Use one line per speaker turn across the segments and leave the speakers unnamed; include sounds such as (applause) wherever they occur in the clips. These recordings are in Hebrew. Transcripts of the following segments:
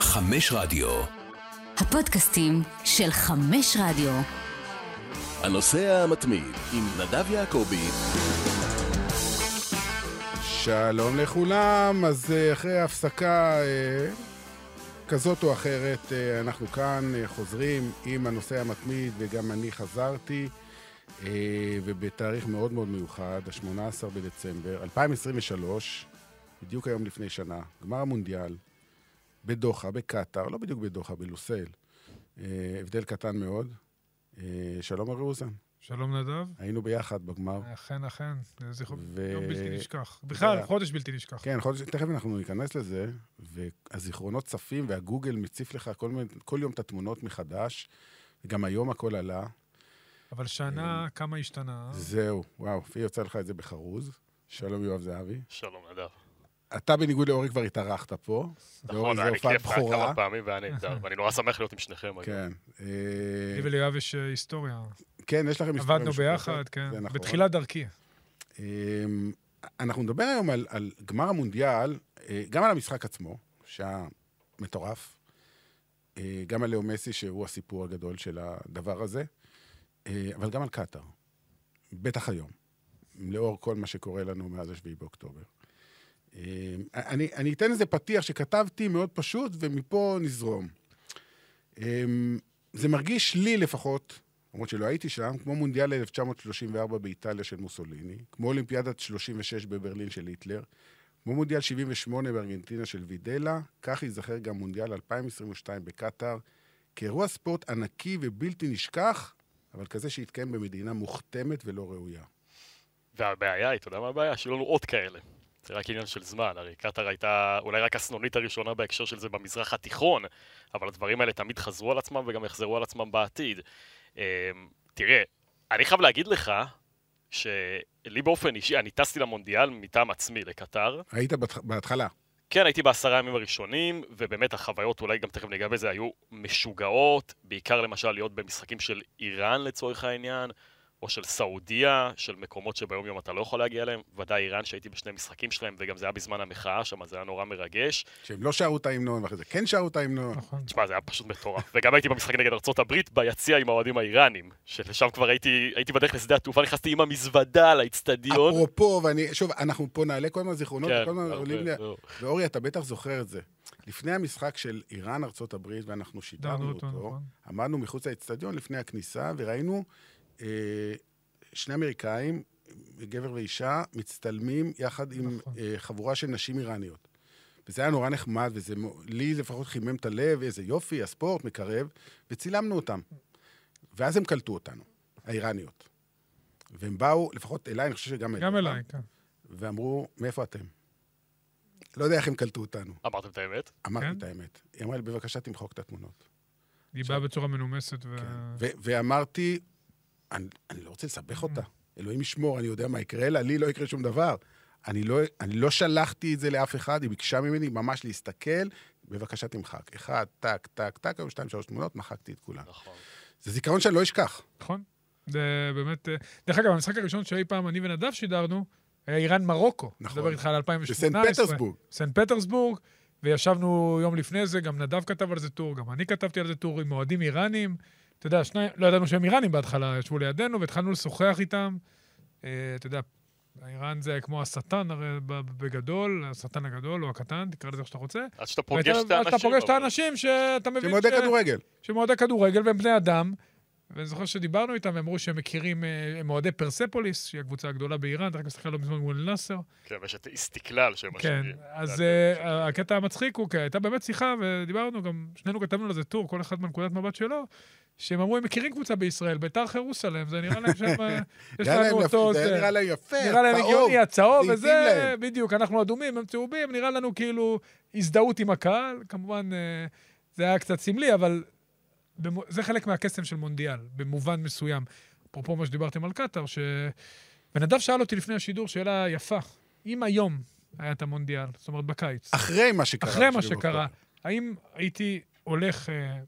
חמש רדיו.
הפודקאסטים של חמש רדיו.
הנוסע המתמיד עם נדב יעקבי.
שלום לכולם, אז אה, אחרי הפסקה אה, כזאת או אחרת, אה, אנחנו כאן אה, חוזרים עם הנושא המתמיד, וגם אני חזרתי, אה, ובתאריך מאוד מאוד מיוחד, ה-18 בדצמבר 2023, בדיוק היום לפני שנה, גמר המונדיאל, בדוחה, בקטאר, לא בדיוק בדוחה, בלוסל. אה, הבדל קטן מאוד. אה, שלום ארי אוזן,
שלום נדב.
היינו ביחד בגמר.
אכן, אכן, זה זכרו,
ו-
יום בלתי נשכח. בכלל,
ו-
חודש בלתי נשכח.
כן, יכול להיות שתכף אנחנו ניכנס לזה, והזיכרונות צפים והגוגל מציף לך כל, מיני- כל יום את התמונות מחדש. גם היום הכל עלה.
אה. אבל
אה,
שנה, כמה השתנה?
זהו, וואו, פי יוצא לך את זה בחרוז. שלום יואב זהבי.
שלום נדב.
אתה בניגוד לאורי כבר התארחת פה. ואורי
נכון,
זה
היה לי
הופעת
כיף רק
בכורה.
כמה פעמים והיה נהדר, ואני נורא שמח להיות עם שניכם היום.
כן. אה,
לי וליואב יש אה, היסטוריה.
כן, יש לכם היסטוריה
עבדנו
משותפת,
ביחד, כן.
זה נכון.
בתחילת דרכי.
אמ, אנחנו נדבר היום על, על גמר המונדיאל, אה, גם על המשחק עצמו, שהיה מטורף, אה, גם על לאו מסי, שהוא הסיפור הגדול של הדבר הזה, אה, אבל גם על קטאר, בטח היום, לאור כל מה שקורה לנו מאז השביעי באוקטובר. אמ, אני, אני אתן איזה פתיח שכתבתי מאוד פשוט, ומפה נזרום. אמ, זה מרגיש לי לפחות, למרות שלא הייתי שם, כמו מונדיאל 1934 באיטליה של מוסוליני, כמו אולימפיאדת 36 בברלין של היטלר, כמו מונדיאל 78 בארגנטינה של וידלה, כך ייזכר גם מונדיאל 2022 בקטאר, כאירוע ספורט ענקי ובלתי נשכח, אבל כזה שהתקיים במדינה מוכתמת ולא ראויה.
והבעיה היא, אתה יודע מה הבעיה? שיהיו לנו עוד כאלה. זה רק עניין של זמן, הרי קטאר הייתה אולי רק הסנונית הראשונה בהקשר של זה במזרח התיכון, אבל הדברים האלה תמיד חזרו על עצמם וגם יחזרו על עצמם בעתיד. אמ, תראה, אני חייב להגיד לך שלי באופן אישי, אני טסתי למונדיאל מטעם עצמי לקטר,
היית בת- בהתחלה.
כן, הייתי בעשרה ימים הראשונים, ובאמת החוויות, אולי גם תכף ניגע בזה, היו משוגעות, בעיקר למשל להיות במשחקים של איראן לצורך העניין, או של סעודיה, של מקומות שביום יום אתה לא יכול להגיע אליהם, ודאי איראן שהייתי בשני משחקים שלהם, וגם זה היה בזמן המחאה שם, אז זה היה נורא מרגש.
שהם לא שרו את ההמנון, ואחרי זה כן שרו את ההמנון.
נכון.
תשמע, זה היה פשוט מטורף. וגם הייתי במשחק נגד ארה"ב ביציע עם האוהדים האיראנים, שלשם כבר הייתי, הייתי בדרך לשדה התעופה, נכנסתי עם המזוודה לאיצטדיון.
אפרופו, ואני, שוב, אנחנו פה נעלה כל הזמן זיכרונות,
כן,
וכל הזמן
הרבה,
עולים לי...
לא.
ואורי, אתה בטח זוכר את זה. לפני המשחק של איראן, ארצות הברית, ואנחנו שידרנו
דנו
אותו,
אותו, נכון.
עמדנו מחוץ לאצטדיון לפני הכניסה, וראינו אה, שני אמריקאים, גבר ואישה, מצטלמים יחד עם
נכון.
אה, חבורה של נשים איראניות. וזה היה נורא נחמד, וזה מו- לי לפחות חימם את הלב, איזה יופי, הספורט מקרב, וצילמנו אותם. ואז הם קלטו אותנו, האיראניות. והם באו, לפחות אליי, אני חושב שגם
גם אליי, כן.
ואמרו, מאיפה אתם? לא יודע איך הם קלטו אותנו.
אמרתם את האמת?
אמרתי
כן?
את האמת. היא אמרה לי, בבקשה תמחוק את התמונות. כן.
היא באה בצורה מנומסת ו...
ו- ואמרתי, אני, אני לא רוצה לסבך אותה.
אה.
אלוהים ישמור, אני יודע מה יקרה לה, לי לא יקרה שום דבר. אני לא, אני לא שלחתי את זה לאף אחד, היא ביקשה ממני ממש להסתכל, בבקשה תמחק. אחד, טק, טק, טק, היו שתיים, שלוש תמונות, מחקתי את כולן.
נכון.
זה זיכרון שאני לא אשכח.
נכון. זה באמת... אה, דרך אגב, המשחק הראשון שאי פעם אני ונדב שידרנו, היה איראן-מרוקו.
נכון.
אני מדבר איתך על 2018.
בסנט פטרסבורג.
סנט פטרסבורג, וישבנו יום לפני זה, גם נדב כתב על זה טור, גם אני כתבתי על זה טור עם אוהדים איראנים. אתה יודע, שניים, לא ידענו שהם איראנים בהתחלה, ישבו לידינו והתחלנו לשוחח איתם. אה, אתה יודע, איראן זה כמו השטן הרי ב- בגדול, השטן הגדול או הקטן, תקרא לזה איך שאתה רוצה.
אז שאתה פוגש את
ואתה-
האנשים.
אתה פוגש את
אבל-
האנשים שאתה מבין
שהם אוהדי כדורגל.
שהם אוהדי כדורגל והם בני אדם. ואני זוכר שדיברנו איתם, הם אמרו שהם מכירים, אה, הם אוהדי פרספוליס, שהיא הקבוצה הגדולה באיראן, אתה רק מסתכל לא מזמן מול נאסר.
כן, ויש את אסתכלל שהם
כן,
השני.
אז
זה
אה,
הדרך.
הקטע המצחיק הוא, כי הייתה באמת שיחה, ודיברנו גם, שנינו כתבנו לזה טור, כל אחד מנקודת מבט שלו, שהם אמרו, הם מכירים קבוצה בישראל, ביתר חרוסלם, זה נראה להם שם, אה,
(laughs)
יש
נראה להם
לנו
יפה,
אותו,
זה
זה-
נראה להם יפה,
נראה להם
צהוב.
הגיוני, הצהוב
זה התאים
וזה,
להם.
בדיוק, אנחנו אדומים, הם צהובים, נראה לנו כאילו הזדהות עם הקהל, כמובן אה, זה היה קצת סמלי, אבל במו- זה חלק מהקסם של מונדיאל, במובן מסוים. אפרופו מה שדיברתם על קטאר, ש... ונדב שאל אותי לפני השידור שאלה יפה, אם היום היה את המונדיאל, זאת אומרת בקיץ,
אחרי מה שקרה.
אחרי מה
שבאוקטובר.
שקרה, האם הייתי הולך... אה,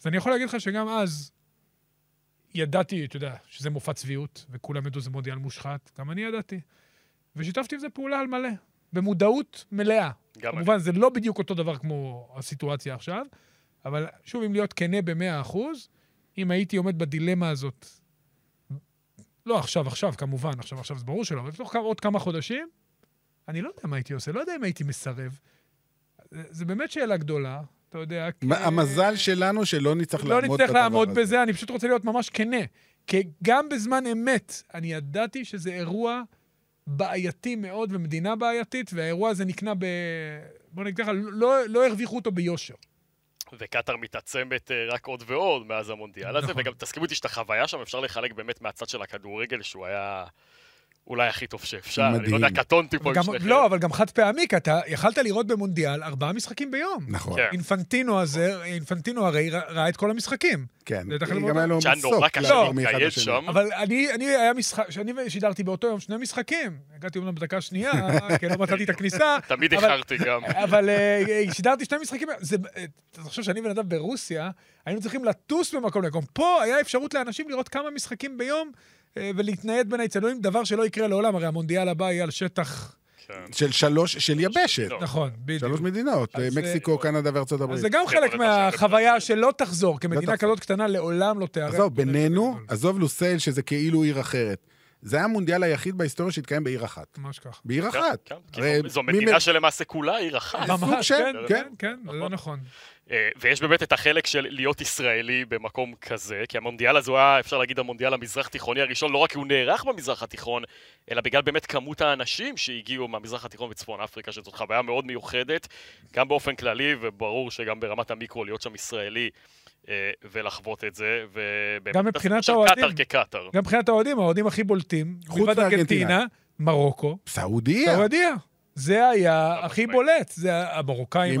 אז אני יכול להגיד לך שגם אז ידעתי, אתה יודע, שזה מופע צביעות, וכולם ידעו שזה מונדיאל מושחת, גם אני ידעתי. ושיתפתי עם זה פעולה על מלא. במודעות מלאה.
גם אני.
כמובן, זה לא בדיוק אותו דבר כמו הסיטואציה עכשיו, אבל שוב, אם להיות כנה במאה אחוז, אם הייתי עומד בדילמה הזאת, לא עכשיו, עכשיו, כמובן, עכשיו, עכשיו זה ברור שלא, אבל בתוך כמה- עוד כמה חודשים, אני לא יודע מה הייתי עושה, לא יודע אם הייתי מסרב. זה, זה באמת שאלה גדולה, אתה יודע. כי-
מה- המזל שלנו שלא נצטרך
לא
לעמוד בדבר
נצטרך לעמוד
הזה.
בזה, אני פשוט רוצה להיות ממש כנה. כי גם בזמן אמת, אני ידעתי שזה אירוע בעייתי מאוד ומדינה בעייתית, והאירוע הזה נקנה ב... בוא נגיד ככה, לא, לא הרוויחו אותו ביושר.
וקטאר מתעצמת אה, רק עוד ועוד מאז המונדיאל הזה,
נכון.
וגם תסכימו איתי שאת החוויה שם אפשר לחלק באמת מהצד של הכדורגל, שהוא היה אולי הכי טוב שאפשר. אני לא
מדהים.
יודע, קטונתי פה עם
גם,
שניכם.
לא, אבל גם חד פעמי, כי אתה יכלת לראות במונדיאל ארבעה משחקים ביום.
נכון,
כן.
אינפנטינו הזה, אינפנטינו הרי ר- ראה את כל המשחקים.
כן.
זה תחליף
גם היה לו
שהיה
מסוק לא,
נורא קשה
לעבור
להתנייד
מאחד לשני.
שם.
אבל אני, אני היה משחק, שאני שידרתי באותו יום שני משחקים. הגעתי אומנם בדקה השנייה, (laughs) כי לא מצאתי את הכניסה.
(laughs) תמיד
אבל-
איחרתי גם.
אבל אה, אה, שידרתי שני משחקים, זה, אה, אתה חושב שאני ונדב ברוסיה, היינו צריכים לטוס ממקום למקום. פה היה אפשרות לאנשים לראות כמה משחקים ביום אה, ולהתנייד בין האצטדיונים, דבר שלא יקרה לעולם, הרי המונדיאל הבא יהיה על שטח...
כן.
של שלוש, של יבשת.
לא.
נכון, בדיוק.
שלוש מדינות,
אז, אה,
מקסיקו, קנדה וארצות
אז
הברית.
זה גם
כן,
חלק
אבל זה עכשיו
מהחוויה שלא תחזור, כמדינה
לא תחזור.
כזאת קטנה לעולם לא תיארח.
עזוב, בינינו, עזוב לוסייל, שזה כאילו עיר אחרת. זה היה המונדיאל היחיד בהיסטוריה שהתקיים בעיר אחת.
ממש ככה.
בעיר
כן,
אחת.
כן, כי
הרי
זו- זו
מי
מדינה
מ-
שלמעשה כולה עיר אחת.
סוג
ממש,
של,
כן, כן,
כן.
כן, זה לא נכון.
אה, ויש באמת את החלק של להיות ישראלי במקום כזה, כי המונדיאל הזה הוא היה, אפשר להגיד, המונדיאל המזרח תיכוני הראשון, לא רק כי הוא נערך במזרח התיכון, אלא בגלל באמת כמות האנשים שהגיעו מהמזרח התיכון וצפון אפריקה, שזאת חוויה מאוד מיוחדת, גם באופן כללי, וברור שגם ברמת המיקרו להיות שם ישראלי אה, ולחוות את זה, ובאמת,
גם מבחינת
הסיפור של
האוהדים.
קטאר כקטאר.
גם מבחינת האוהדים, האוהדים הכי בולטים,
חוץ
מלבד
מארגנטינה.
ארגנטינה, מרוקו,
סעודיה.
סעודיה. זה היה הכי
משמעית.
בולט, זה ה- המרוקאים.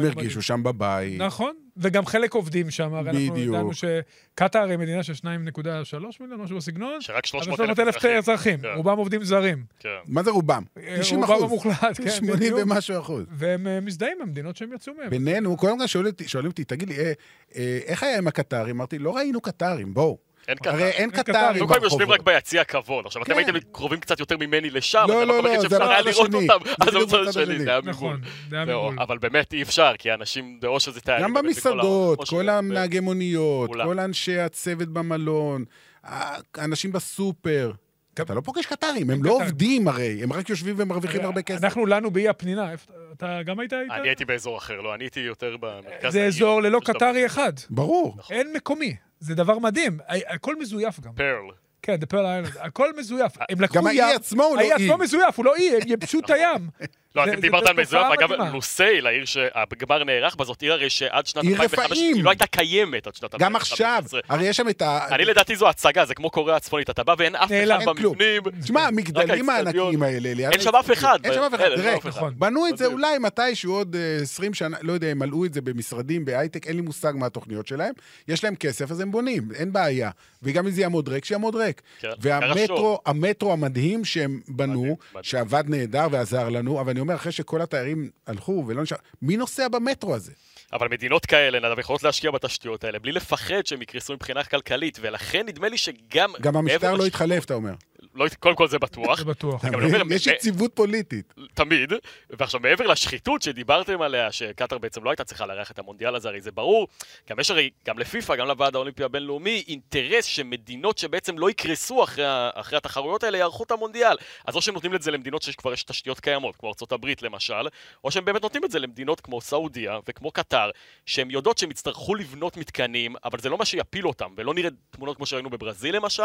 הם
היו
הרגישו שם בבית.
נכון, וגם חלק עובדים שם, הרי אנחנו
בדיוק.
ידענו שקטאר היא מדינה של 2.3 מיליון, משהו בסגנון,
שרק
אבל
300
300 אלף אזרחים,
כן,
רובם עובדים זרים.
כן.
מה זה רובם? 90
אה, רובם
אחוז.
המוחלט, כן,
80
בדיוק.
ומשהו אחוז.
והם אה, מזדהים מהמדינות שהם יצאו מהן.
בינינו, כל הזמן שואלים אותי- שואלים אותי, תגיד לי, אה, אה, איך היה עם הקטרים? אמרתי, לא ראינו קטרים, בואו.
אין קטר.
הרי אין
קטרים.
קטרים
קודם כל הם יושבים
ברחובות.
רק ביציע הכבוד. עכשיו, אתם
כן.
הייתם קרובים קצת יותר ממני לשם,
לא,
אז
לא,
המקום
לא,
היחיד
זה
שאפשר היה
בצד
לראות
השני.
אותם,
זה
אז זה
בדיוק
בצד
בצד
השני,
השני.
זה היה
נכון,
מבול.
זה היה
זהו,
מבול.
אבל באמת אי אפשר, כי האנשים, או שזה תארים.
גם
באמת, בכל
במסעדות,
העולם, או
כל
שזה-
הנהגי מוניות,
כולם.
כל אנשי הצוות במלון, האנשים בסופר.
גם-
אתה לא פוגש קטרים, הם
אין
לא
קטרים. אה,
עובדים הרי, הם רק יושבים ומרוויחים הרבה כסף.
אנחנו לנו באי הפנינה, איפה- אתה גם היית איתנו?
אני הייתי באזור אחר, לא, אני הייתי יותר במרכז.
זה
העיר,
אזור ללא
פשוט
קטרי אחד.
ברור.
נכון.
אין מקומי, זה דבר מדהים. ה- הכל מזויף גם.
פרל.
כן, The Pearl Island, הכל מזויף.
אה,
הם לקחו ים.
גם האי עצמו הוא לא
האי
אי.
עצמו מזויף, הוא לא אי, הם ייבשו את הים.
לא,
זה-
אתם
זה
דיברת על מזויף,
תופעה
אגב,
מדהימה.
לוסייל, העיר שהגמר נערך בה, זאת עיר הרי שעד שנת
עיר
2005,
רפאים.
היא לא הייתה קיימת עד שנת 2015.
גם עכשיו, הרי יש שם את ה...
נכון, אני לדעתי זו הצגה, זה כמו קוריאה הצפונית, אתה בא ואין אף
נעלם.
אחד
אין כלום.
במבנים.
תשמע, המגדלים
האצטדיון.
הענקיים האלה, ליד
אין שם אף אחד.
אין שם אף אחד,
אין, אין
תראה,
אף אחד.
נכון.
בנו את זה
בדיוק.
אולי מתישהו עוד אה, 20 שנה, לא יודע, הם מלאו את זה במשרדים, בהייטק, אין לי מושג מה התוכניות שלהם. יש להם כסף, אז הם בונים, אין בעיה. וגם אם זה יעמוד ריק, שיעמוד ריק.
כן,
והמטרו, המטרו המדהים שהם
מדהים,
בנו,
מדהים.
שעבד נהדר ועזר לנו, אבל אני אומר, אחרי שכל התיירים הלכו ולא נשאר, מי נוסע במטרו הזה?
אבל מדינות כאלה, נדב, יכולות להשקיע בתשתיות האלה, בלי לפחד שהם יקרסו מבחינה כלכלית, ולכן נדמה לי שגם...
גם המשטר
מעבר
לא
לש-
התחלף, אתה אומר.
לא הת- קודם כל זה בטוח.
זה בטוח.
גם אני אומר, אה,
יש
מ-
יציבות פוליטית.
תמיד. ועכשיו, מעבר לשחיתות שדיברתם עליה, שקטאר בעצם לא הייתה צריכה לארח את המונדיאל הזה, הרי זה ברור, גם יש הרי, גם לפיפ"א, גם לוועד האולימפי הבינלאומי, אינטרס שמדינות שבעצם לא יקרסו אחרי, ה- אחרי התחרויות האלה יערכו את המונדיאל. אז או שהם נותנים את זה למדינות שכבר יש תשתיות קיימות, כמו ארה"ב למשל, או שהם באמת נותנים את זה למדינות כמו סעודיה וכמו קטאר, שהן יודעות שהן יצטרכו לבנות מתקנים, אבל זה לא מה שיפיל אותם, ולא נראה תמונות כמו שראינו בברזיל למשל,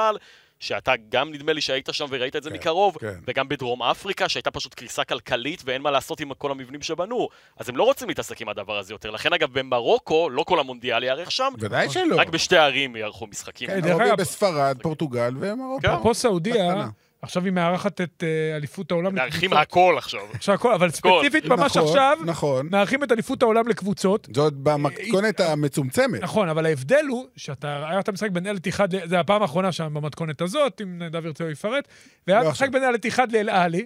שאתה גם נדמה לי שהיית שם וראית את זה
כן,
מקרוב,
כן.
וגם בדרום אפריקה, שהייתה פשוט קריסה כלכלית ואין מה לעשות עם כל המבנים שבנו. אז הם לא רוצים להתעסק עם הדבר הזה יותר. לכן אגב, במרוקו, לא כל המונדיאל ייערך שם,
ודאי שלא.
נכון. רק בשתי הערים יערכו משחקים.
כן,
לא. דרך
הרוב יהיה
אגב-
בספרד, פורטוגל ומרוקו.
כן.
פה סעודיה,
בקטנה.
עכשיו היא מארחת את אה, אליפות העולם.
מארחים
לקבוצות.
הכל עכשיו.
עכשיו הכל, אבל ספציפית ממש
נכון,
עכשיו,
נכון.
מארחים את אליפות העולם לקבוצות.
זאת במתכונת המצומצמת.
אה, נכון, אבל ההבדל הוא שאתה, היה את המשחק בין אל איתיחד, ל- זה הפעם האחרונה שם במתכונת הזאת, אם נדב ירצה הוא יפרט, והיה
לא
משחק
עכשיו.
בין אל איתיחד לאל עלי,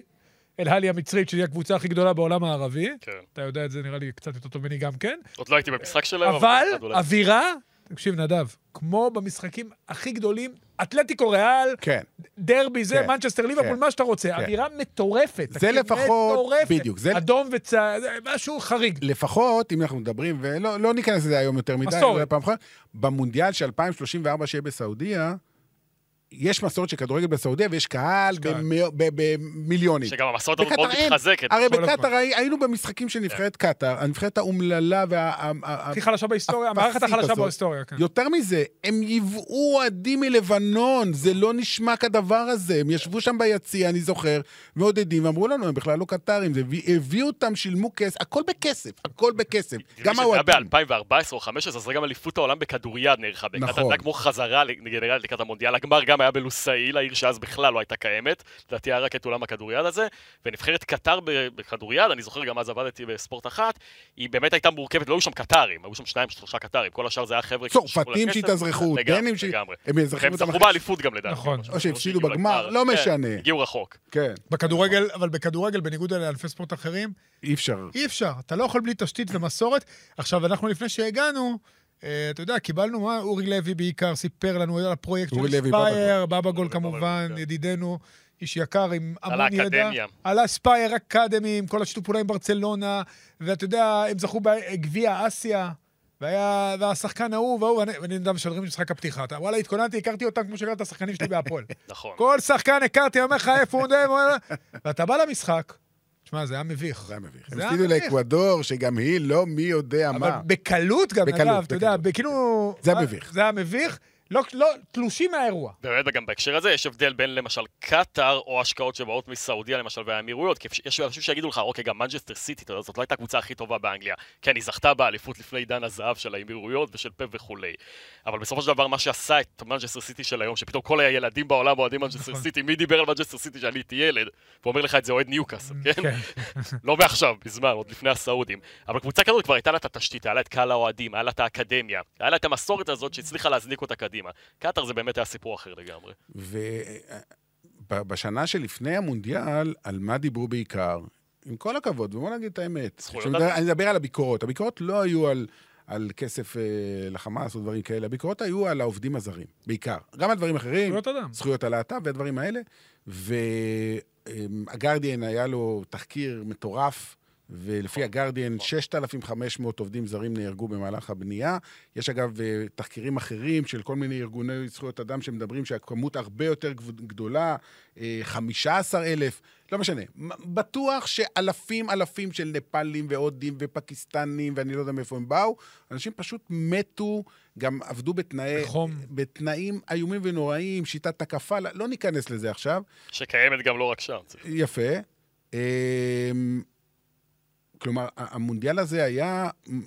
אל עלי המצרית, שהיא הקבוצה הכי גדולה בעולם הערבי,
כן.
אתה יודע את זה נראה לי קצת יותר טוב ממני גם כן,
עוד לא הייתי במשחק שלהם,
אבל
אחד אולי.
אווירה תקשיב, נדב, כמו במשחקים הכי גדולים, אתלטיקו ריאל,
כן.
דרבי זה,
כן,
מנצ'סטר ליברפול,
כן,
מה שאתה רוצה. אווירה מטורפת.
זה
תקשיב,
לפחות-
מטורפת.
בדיוק, זה-
אדום וצהר, משהו חריג.
לפחות, אם אנחנו מדברים, ולא לא ניכנס לזה היום יותר מדי,
מסורת.
אולי פעם אחת, במונדיאל של 2034 שיהיה בסעודיה, יש מסורת של כדורגל בסעודיה ויש קהל
קהל.
במאו- ב- במיליונים.
שגם המסורת הזאת מאוד
בקטר אין.
מתחזקת.
הרי
כל הזמן. כן.
בקטאר הי- היינו במשחקים של נבחרת קטאר, הנבחרת האומללה וה... ה- ה-
הכי חלשה בהיסטוריה,
הפסית
המערכת החלשה
הזאת.
בהיסטוריה, כן.
יותר מזה, הם ייבאו אוהדים מלבנון, זה לא נשמע כדבר הזה. הם ישבו שם ביציע, אני זוכר, מעודדים, ואמרו לנו, הם בכלל לא קטרים, זה הביא- הביאו אותם, שילמו כסף, הכל בכסף, הכל בכסף. גם
האוהדים.
האוהדים.
שזה היה ב-2014 או 2015, אז גם אליפות העולם בכדוריד נערכה בקטר.
נכון.
זה היה כמו חזרה לגנרלית לקראת המונדיאל. הגמר גם היה בלוסאיל, העיר שאז בכלל לא הייתה קיימת. לדעתי היה רק את אולם הכדוריד הזה. ונבחרת קטר ב- בכדוריד, אני זוכר, גם אז עבדתי בספורט אחת, היא באמת הייתה מורכבת, לא היו שם קטרים, היו שם שניים, שלושה קטרים. כל השאר זה היה חבר'ה... שקשורים
צרפתים
לכסף.
שהתאזרחו,
לגמרי,
דנים ש-
לגמרי.
הם אזרחים
והם
אותם
זכו
אחרי-
באליפות גם לדעתי.
נכון.
משהו
או שהפסידו
שהגיעו
בגמר, לא
כן,
משנה.
הגיעו רחוק.
כן,
בכדורגל, אבל בכדורגל, בניגוד לאלפי ספורט אחרים,
אי אפשר.
אי אפשר, אתה לא יכול בלי תשתית ומסורת. עכשיו, אנחנו לפני שהגענו, אה, אתה יודע, קיבלנו, מה, אורי לוי בעיקר סיפר לנו על הפרויקט
אורי
של
לוי, בבא
ספייר, בבא גול כמובן,
כן.
ידידנו, איש יקר עם
על
המון ידע.
האקדמיה.
על הספייר אקדמי, עם כל השיתוף פעולה עם ברצלונה, ואתה יודע, הם זכו בגביע אסיה. והיה, והשחקן ההוא וההוא, ואני- ואני יודע, משדרים את משחק הפתיחה. אתה, וואלה, התכוננתי, הכרתי אותם כמו שהכרתי את השחקנים שלי בהפועל.
נכון.
כל שחקן הכרתי, אומר לך איפה הוא נדב, ואתה בא למשחק, תשמע, זה היה מביך.
זה היה מביך. הם
זה היה
הפסידו
מביך.
לאקוודור, שגם היא לא מי יודע
אבל
מה.
בקלות גם,
בקלות,
נדב, אתה יודע,
בקלות.
כאילו...
זה היה מביך.
זה היה מביך, לא- לא, תלושים מהאירוע.
באמת, גם בהקשר הזה יש הבדל בין למשל קטאר, או השקעות שבאות מסעודיה למשל והאמירויות, כי יש אנשים שיגידו לך, אוקיי, גם מנג'סטר סיטי, אתה יודע, זאת לא הייתה הקבוצה הכי טובה באנגליה, כן, היא זכתה באליפות לפני עידן הזהב של האמירויות ושל פאפ וכולי. אבל בסופו של דבר, מה שעשה את מנג'סטר סיטי של היום, שפתאום כל הילדים בעולם אוהדים מנג'סטר סיטי, מי דיבר על מנג'סטר סיטי כשאני הייתי ילד, ואומר לך את זה אוהד ניוקאסל,
Mm.
כן? לא מעכשיו, מזמן, עוד לפני הסעודים. אבל קבוצה כזאת כבר הייתה לה את התשתית, היה לה את קהל האוהדים, היה לה את האקדמיה, היה לה את המסורת הזאת שהצליחה להזניק אותה קדימה. קטאר זה באמת היה סיפור אחר לגמרי.
ובשנה שלפני המונדיאל, על מה דיברו בעיקר? עם כל הכבוד, ובוא נגיד את האמת.
זכויות
כשמדבר- אני מדבר על הביקורות. הביקורות לא היו על, על כסף אה, לחמאס או דברים כאלה, הביקורות היו על העובדים הזרים, בעיקר. גם על דברים אחרים.
זכויות אדם.
זכויות הלהט"ב והדברים האלה. והגרדיאן היה לו תחקיר מטורף, ולפי הגרדיאן 6,500 עובדים זרים נהרגו במהלך הבנייה. יש אגב אה, תחקירים אחרים של כל מיני ארגוני זכויות אדם שמדברים שהכמות הרבה יותר גב- גדולה, אה, 15,000, לא משנה. מ- בטוח שאלפים אלפים של נפאלים והודים ופקיסטנים, ואני לא יודע מאיפה הם באו, אנשים פשוט מתו, גם עבדו בתנאי...
בחום.
בתנאים איומים ונוראים, שיטת הקפה, לא- לא ניכנס לזה עכשיו.
שקיימת גם לא רק שם. זה-
יפה. אמ, כלומר, ה- המונדיאל הזה היה... מ, אה,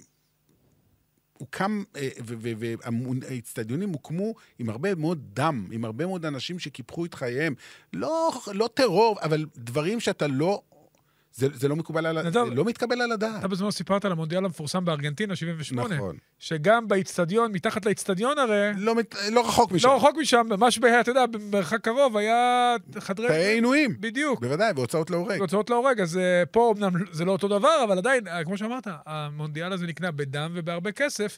הוקם, והאיצטדיונים הוקמו עם הרבה מאוד דם, עם הרבה מאוד אנשים שקיפחו את חייהם. לא, לא טרור, אבל דברים שאתה לא... זה, זה לא מקובל על... ה- זה
נדב,
לא מתקבל על
אתה
הדעת.
בזמנו סיפרת על המונדיאל המפורסם בארגנטינה, 78.
נכון.
שגם באיצטדיון, מתחת לאיצטדיון הרי,
לא, מת- לא רחוק משם.
לא רחוק משם, ממש, ב- אתה יודע, במרחק קרוב היה חדרי...
תאי עינויים.
בדיוק.
בוודאי, והוצאות לא להורג.
(laughs) הוצאות להורג, אז אה, פה אמנם זה לא אותו דבר, אבל עדיין, אה, כמו שאמרת, המונדיאל הזה נקנה בדם ובהרבה כסף.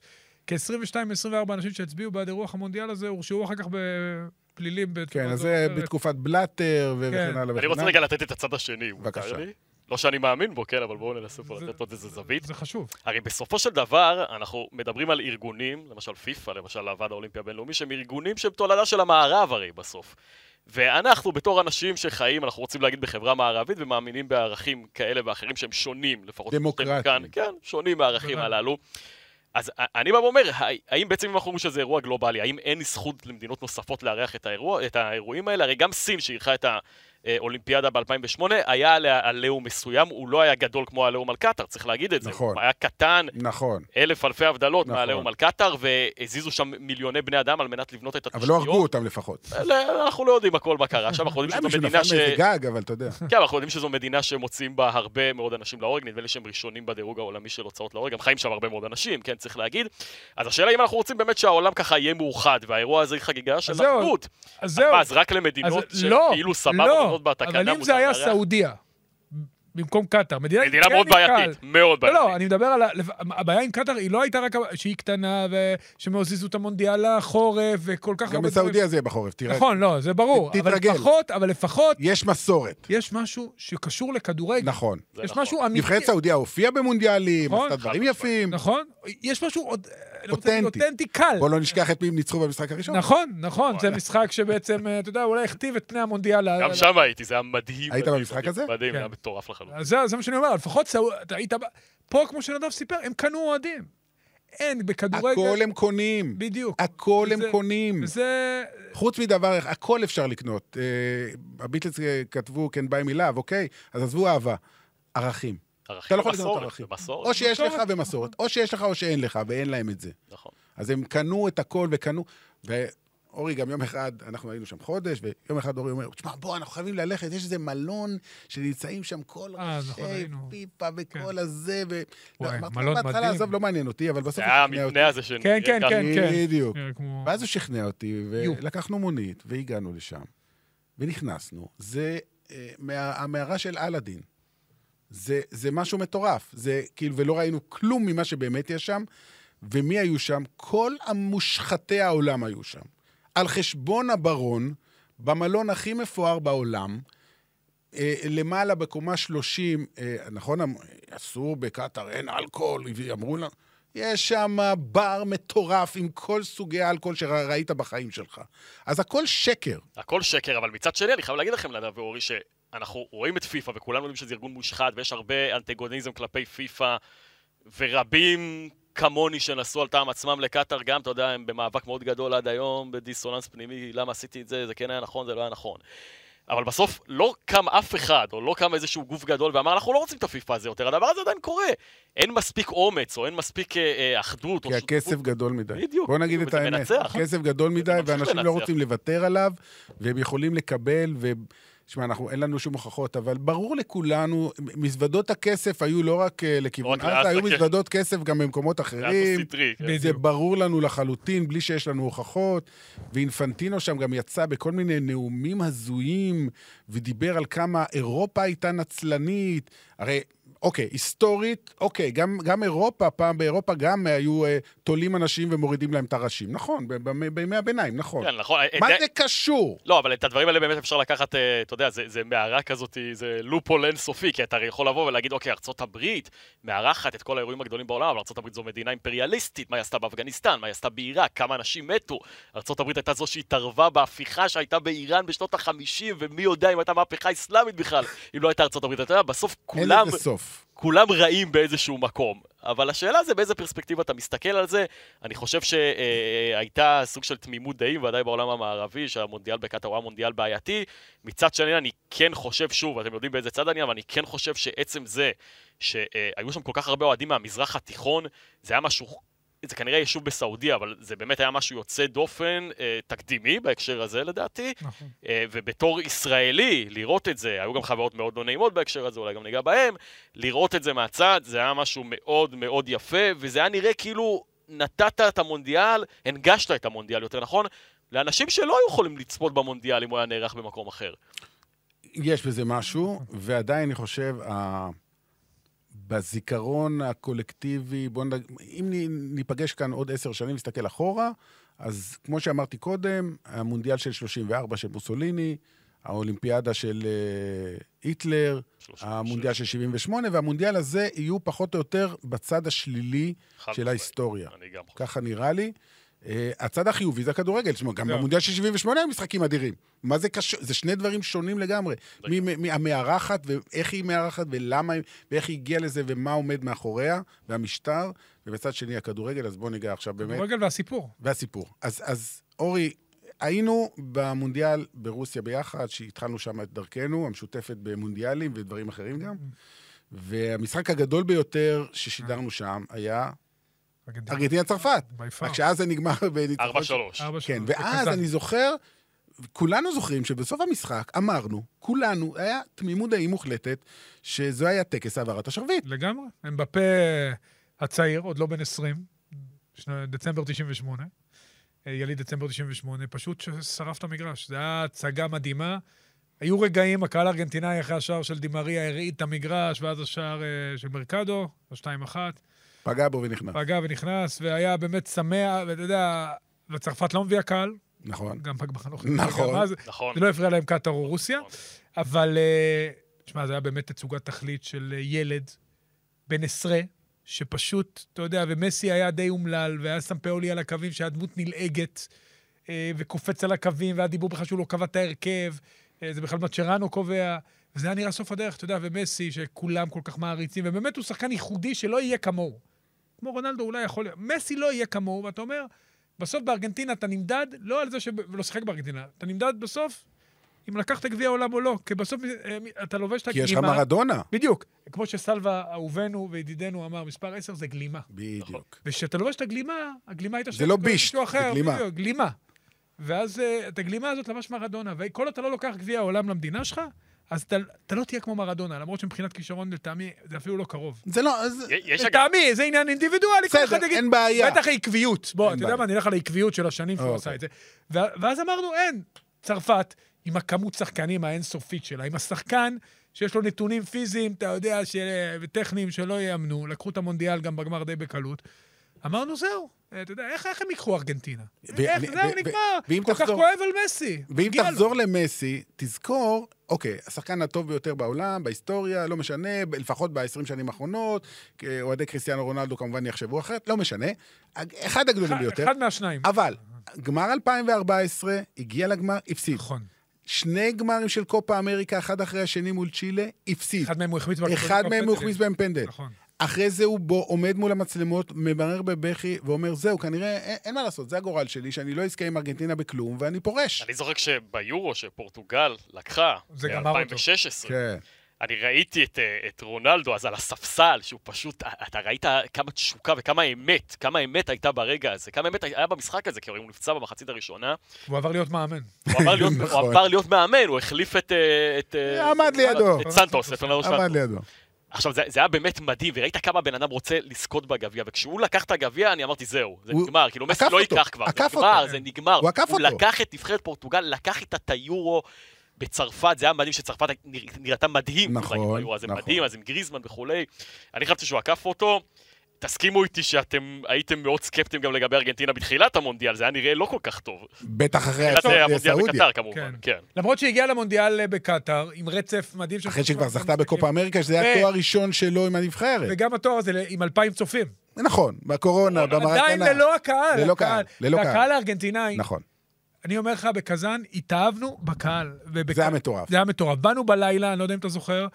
כ-22-24 אנשים שהצביעו בעד אירוח המונדיאל הזה הורשעו אחר כך בפלילים. בתקופה
כן,
זו
אז
או
זה
אחרת.
בתקופת בלאטר וכן
לא כן.
הלאה וכן הלאה.
אני רוצה רגע לתת את הצד השני,
בבקשה.
מותר לי? לא שאני מאמין בו, כן, אבל בואו ננסה פה לתת עוד איזה זווית.
זה חשוב.
הרי בסופו של דבר, אנחנו מדברים על ארגונים, למשל פיפ"א, למשל הוועד האולימפי הבינלאומי, שהם ארגונים שהם תולדה של המערב הרי בסוף. ואנחנו, בתור אנשים שחיים, אנחנו רוצים להגיד בחברה מערבית, ומאמינים בערכים כאלה ואחרים שהם שונים, לפחות...
דמוקרטיים.
כאן, כן, שונים מהערכים
בוודאי.
הללו. אז א- אני בא ואומר, ה- האם בעצם אם אנחנו אומרים שזה אירוע גלובלי, האם אין זכות למדינות נוספות לארח את, האירוע, את האירועים האלה? הרי גם סין שאירחה את האולימפיאדה ב-2008, היה עליה עליהום מסוים, הוא לא היה גדול כמו העליהום על קטאר, צריך להגיד את זה.
נכון.
הוא היה קטן,
נכון,
אלף אלפי הבדלות
נכון.
מהעליהום על קטאר, והזיזו שם מיליוני בני אדם על מנת לבנות את
אבל
התשתיות.
לא הרגו אותם לפחות.
לא, אנחנו לא יודעים הכל מה קרה שם, אנחנו יודעים
אולי
שזו
מישהו
מדינה
נפל
ש...
מאיזה גג, אבל אתה יודע.
כן, אנחנו יודעים שזו מדינה שמוציאים בה הרבה מאוד אנשים להורג, נדמה לי שהם ראשונים בדירוג העולמי של הוצאות להורג, גם חיים שם הרבה מאוד אנשים, כן, צריך להגיד. אז השאלה אם אנחנו רוצים באמת שהעולם ככה יהיה מאוחד, והאירוע הזה היא חגיגה של
זהו,
אחדות.
אז
אז
זהו.
מה, אז רק למדינות
לא,
שכאילו סבבה,
לא,
עומדות בתקנה
אבל אם
מותר
זה היה
לארח?
סעודיה, במקום קטאר. מדינה,
מדינה
כן
מאוד
עם קהל.
בעייתית, מאוד
לא,
בעייתית.
לא, אני מדבר על... ה- לפ- הבעיה עם קטאר היא לא הייתה רק שהיא קטנה ושמזיזו את המונדיאל לחורף וכל כך
גם
הרבה דברים.
בסעודיה זה יהיה בחורף, תראה.
נכון, לא, זה ברור.
ת-
אבל
תתרגל.
לפחות, אבל לפחות
יש מסורת,
יש משהו שקשור לכדורגל.
נכון.
זה
יש
נכון.
משהו אמיתי.
נבחרת סעודיה הופיעה במונדיאלים,
נכון.
עשתה דברים
חד
יפים.
נכון? יש משהו עוד... אני רוצה להגיד
אותנטי.
אותנטי קל.
בואו לא נשכח את מי הם ניצחו במשחק הראשון.
נכון, נכון, זה משחק שבעצם, אה, אתה יודע, אולי הכתיב את פני המונדיאל. ה-
לא. גם שם הייתי, זה היה
היית
מדהים. מדהים,
במשחק
מדהים,
הזה?
מדהים,
לא. כן.
היה מטורף לחלוטין.
אז זה, זה מה שאני אומר, לפחות סעו... אתה היית... ב- פה, כמו שנדב סיפר, הם קנו אוהדים. אין, בכדורגל...
הכל הם קונים.
בדיוק.
הכל הם
וזה-
קונים.
וזה...
חוץ מדבר אחד, הכל אפשר לקנות. אה, הביטלס אה, כתבו כן ביי מילאב, אוקיי? אז עזבו אהבה. ערכים.
ערכים
אתה לא יכול לקנות
ומסורת,
ערכים.
ומסורת,
או שיש לך
מסורת.
ומסורת, או שיש לך או שאין לך, ואין להם את זה.
נכון.
אז הם קנו את הכל וקנו, ואורי גם יום אחד, אנחנו היינו שם חודש, ויום אחד אורי אומר, תשמע, בוא, אנחנו חייבים ללכת, יש איזה מלון שנמצאים שם כל
אה,
ראשי
נכון, היינו.
פיפה וכל
כן.
הזה, ו...
וואי,
אמרתי,
מלון
בהתחלה,
מדהים.
עזוב, לא מעניין אותי, אבל בסוף
זה
הוא
היה
שכנע אותי.
המבנה הזה ש...
כן, כן, כן, כן.
בדיוק.
אה, כמו...
ואז הוא שכנע אותי,
יו.
ולקחנו מונית, והגענו לשם, ונכנסנו. זה אה, מה- המערה של אלאדין. זה, זה משהו מטורף. זה כאילו, ולא ראינו כלום ממה שבאמת יש שם. ומי היו שם? כל המושחתי העולם היו שם. על חשבון הברון, במלון הכי מפואר בעולם, אה, למעלה בקומה 30, אה, נכון, אמ- אסור בקטאר, אין אלכוהול, אמרו לנו, יש שם בר מטורף עם כל סוגי האלכוהול שראית בחיים שלך. אז הכל שקר.
הכל שקר, אבל מצד שני, אני חייב להגיד לכם, נדב ואורי, שאנחנו רואים את פיפ"א, וכולנו יודעים שזה ארגון מושחת, ויש הרבה אנטגוניזם כלפי פיפ"א, ורבים כמוני שנסעו על טעם עצמם לקטאר גם, אתה יודע, הם במאבק מאוד גדול עד היום, בדיסוננס פנימי, למה עשיתי את זה, זה כן היה נכון, זה לא היה נכון. אבל בסוף לא קם אף אחד, או לא קם איזשהו גוף גדול ואמר, אנחנו לא רוצים את הפיפ"א הזה יותר, הדבר הזה עדיין קורה. אין מספיק אומץ, או אין מספיק אה, אה, אחדות, או
כי הכסף גדול מדי.
בדיוק,
בוא נגיד
בדיוק,
את
וזה
האמת.
מנצח.
הכסף גדול מדי,
ממשיך
ואנשים לא
לנצח.
רוצים לוותר עליו, והם יכולים לקבל, ו... שמע, אנחנו, אין לנו שום הוכחות, אבל ברור לכולנו, מזוודות הכסף היו לא רק אה, לכיוון
רק לעזה,
עזה, היו
כן.
מזוודות כסף גם במקומות
זה היה
אחרים.
דו-סטרי, כן.
זה ברור לנו לחלוטין, בלי שיש לנו הוכחות. ואינפנטינו שם גם יצא בכל מיני נאומים הזויים, ודיבר על כמה אירופה הייתה נצלנית. הרי, אוקיי, היסטורית, אוקיי, גם, גם אירופה, פעם באירופה גם היו אה, תולים אנשים ומורידים להם את הראשים. נכון, ב- ב- בימי הביניים, נכון.
כן, נכון.
מה
אה,
זה קשור?
לא, אבל את הדברים האלה באמת אפשר לקחת, אה, אתה יודע, זה, זה מערה כזאת, זה לופול אינסופי, כי אתה הרי יכול לבוא ולהגיד, אוקיי, ארצות הברית מארחת את כל האירועים הגדולים בעולם, אבל ארצות הברית זו מדינה אימפריאליסטית, מה היא עשתה באפגניסטן, מה היא עשתה בעיראק, כמה אנשים מתו. ארצות הברית הייתה זו שהתערבה בהפיכה שהייתה באיראן בשנות החמישים, ומי יודע אם הייתה מהפכה אסלאמית בכלל, אם לא הייתה ארצות הברית. אתה יודע, בסוף
אין
כולם...
לזה סוף.
כולם רעים באיזשהו מקום. אבל השאלה זה באיזה פרספקטיבה אתה מסתכל על זה. אני חושב שהייתה סוג של תמימות דעים, ודאי בעולם המערבי, שהמונדיאל בקטאר הוא היה מונדיאל בעייתי. מצד שני, אני כן חושב, שוב, אתם יודעים באיזה צד אני, אבל אני כן חושב שעצם זה שהיו שם כל כך הרבה אוהדים מהמזרח התיכון, זה היה משהו... זה כנראה יישוב בסעודיה, אבל זה באמת היה משהו יוצא דופן, אה, תקדימי בהקשר הזה לדעתי.
נכון.
אה, ובתור ישראלי, לראות את זה, היו גם חוויות מאוד לא נעימות בהקשר הזה, אולי גם ניגע בהם, לראות את זה מהצד, זה היה משהו מאוד מאוד יפה, וזה היה נראה כאילו נתת את המונדיאל, הנגשת את המונדיאל, יותר נכון, לאנשים שלא היו יכולים לצפות במונדיאל אם הוא היה נערך במקום אחר.
יש בזה משהו, ועדיין אני חושב, ה... בזיכרון הקולקטיבי, בואו נג... אם נ- ניפגש כאן עוד עשר שנים, נסתכל אחורה, אז כמו שאמרתי קודם, המונדיאל של 34 של מוסוליני, האולימפיאדה של אה, היטלר,
36.
המונדיאל של 78, והמונדיאל הזה יהיו פחות או יותר בצד השלילי
חד
של
משמעית.
ההיסטוריה.
אני גם חושב.
ככה נראה לי. אה, הצד החיובי זה הכדורגל, תשמע, גם
זהו.
במונדיאל של 78 היו משחקים אדירים. מה זה קשור? זה שני דברים שונים לגמרי. מי- מי- מי- המארחת, ואיך היא מארחת, ולמה היא, ואיך היא הגיעה לזה, ומה עומד מאחוריה, והמשטר, ובצד שני הכדורגל, אז בואו ניגע עכשיו באמת,
כדורגל והסיפור.
והסיפור. אז- אז אורי, היינו במונדיאל ברוסיה ביחד, שהתחלנו שם את דרכנו, המשותפת במונדיאלים ודברים אחרים גם, והמשחק הגדול ביותר ששידרנו שם היה
ארגנטינה.
ארגנטינה-צרפת.
By far.
רק שאז זה נגמר (laughs) בניצחון.
4-3.
ארבע
כן,
שנים.
ואז
בקטן.
אני זוכר, כולנו זוכרים שבסוף המשחק אמרנו, כולנו, היה תמימות דעים מוחלטת, שזה היה טקס העברת השרביט.
לגמרי. הם בפה הצעיר, עוד לא בן 20, שנה, דצמבר 98, אה, יליד דצמבר 98, פשוט ששרף את המגרש. זו הייתה הצגה מדהימה, היו רגעים, הקהל הארגנטינאי אחרי השער של דימריה הרעיד את המגרש, ואז השער אה, של מרקדו, השתיים אחת,
פגע בו ונכנס.
פגע ונכנס, והיה באמת שמח, ואתה יודע, וצרפת לא מביאה קהל,
נכון.
גם פג בחנוך.
נכון.
גם אז,
נכון.
זה לא הפריע להם קטאר או רוסיה, אבל, אה, שמע, זה היה באמת תצוגת תכלית של אה, ילד בן עשרה, שפשוט, אתה יודע, ומסי היה די אומלל, והיה סמפאולי על הקווים, שהיה דמות נלעגת, אה, וקופץ על הקווים, והיה דיבור בכלל שהוא לא קבע את ההרכב, אה, זה בכלל מצ'רנו קובע. וזה היה נראה סוף הדרך, אתה יודע, ומסי, שכולם כל כך מעריצים, ובאמת הוא שחקן ייחודי שלא יהיה כמוהו. כמו רונלדו אולי יכול להיות, מסי לא יהיה כמוהו, ואתה אומר, בסוף בארגנטינה אתה נמדד, לא על זה שלא שיחק בארגנטינה, אתה נמדד בסוף אם לקחת גביע עולם או לא, כי בסוף אה, אתה לובש את
כי
הגלימה.
יש לך מרדונה.
בדיוק. כמו שסלווה אהובנו וידידנו אמר, מספר 10 זה גלימה.
בדיוק.
וכשאתה לובש את הגלימה, הגלימה הייתה
לא
כל
בישט,
מישהו
זה
אחר,
גלימה.
בדיוק, גלימה. ואז אה, את הגלימה הזאת לבש מרדונה, וכל עוד אתה לא לוקח גביע עולם למדינה שלך, אז אתה, אתה לא תהיה כמו מרדונה, למרות שמבחינת כישרון לטעמי זה אפילו לא קרוב.
זה לא, אז...
אה,
יש אגב...
לטעמי, זה עניין אינדיבידואלי, כל
בסדר,
אחד יגיד...
אין בעיה.
בטח העקביות. בוא,
אין
אתה יודע
בעיה.
מה, נלך על העקביות של השנים שהוא
אוקיי.
עשה את זה. ו- ואז אמרנו, אין, צרפת, עם הכמות שחקנים האינסופית שלה, עם השחקן שיש לו נתונים פיזיים, אתה יודע, ש- וטכניים שלא ייאמנו, לקחו את המונדיאל גם בגמר די בקלות. אמרנו, זהו. אה, אתה יודע, איך, איך הם ייקחו ארגנטינה?
ו-
איך,
ו-
זהו,
ו-
נגמר.
ואם
כל כך
תחזור-
כואב על מסי.
ואם
מגיע לו.
תחזור למסי, תזכור, אוקיי, השחקן הטוב ביותר בעולם, בהיסטוריה, לא משנה, ב- לפחות ב-20 שנים האחרונות, אה, אוהדי קריסטיאנו רונלדו כמובן יחשבו אחרת, לא משנה. אחד הגדולים ביותר.
אחד מהשניים.
אבל, גמר 2014, הגיע לגמר, הפסיד.
נכון.
שני גמרים של קופה אמריקה, אחד אחרי השני מול צ'ילה, הפסיד.
אחד מהם הוא החמיץ בקבוצה
אחד מהם הוא
בפנדלים.
החמיץ בהם פנדל.
נכון.
אחרי זה הוא בו, עומד מול המצלמות, ממרר בבכי ואומר, זהו, כנראה, אין, אין מה לעשות, זה הגורל שלי, שאני לא אזכה עם ארגנטינה בכלום, ואני פורש.
אני זוכר שביורו שפורטוגל לקחה,
זה גמר אותו.
ב-2016,
כן.
אני ראיתי את, אה, את רונלדו אז על הספסל, שהוא פשוט, אה, אתה ראית כמה תשוקה וכמה אמת, כמה אמת הייתה ברגע הזה, כמה אמת היה במשחק הזה, כי הרי הוא נפצע במחצית הראשונה,
הוא עבר להיות מאמן.
(laughs)
הוא עבר להיות,
נכון.
הוא עבר להיות מאמן, הוא החליף את... אה, את אה,
עמד לידו.
את סנטוס, את פרננדו
עמד
סנטוס.
לידו.
עכשיו, זה, זה היה באמת מדהים, וראית כמה בן אדם רוצה לזכות בגביע, וכשהוא לקח את הגביע, אני אמרתי, זהו, זה
הוא-
נגמר, כאילו, מסי
עקף
לא
אותו,
ייקח כבר, זה
עקף
נגמר,
אותו.
זה נגמר.
הוא עקף
הוא
אותו.
לקח את נבחרת פורטוגל, לקח איתה את היורו בצרפת, זה היה מדהים שצרפת נרא- נראתה מדהים.
נכון,
כאילו, היורו הזה
נכון.
מדהים, אז עם גריזמן וכולי. אני חשבתי שהוא עקף אותו. תסכימו איתי שאתם הייתם מאוד סקפטיים גם לגבי ארגנטינה בתחילת המונדיאל, זה היה נראה לא כל כך
אה,
טוב.
בטח אחרי
תחילת
ההפסד
המונדיאל
לסעודיה.
בקטר כמובן, כן.
למרות שהגיע למונדיאל אה, בקטאר, עם רצף מדהים של...
אחרי שכבר זכתה בקופה אמריקה, שזה היה
נכון. ו-
תואר ראשון שלו עם הנבחרת.
וגם התואר הזה ל- עם אלפיים צופים.
נכון, בקורונה, במרקנה.
עדיין לא- ללא הקהל.
ללא קהל, ללא קהל.
והקהל הארגנטינאי,
נכון.
אני אומר לך, בקזאן התאהבנו בקהל. ובק-
זה היה מטורף.
זה היה מטורף. באנו בלילה, אני לא יודע אם אתה זוכר,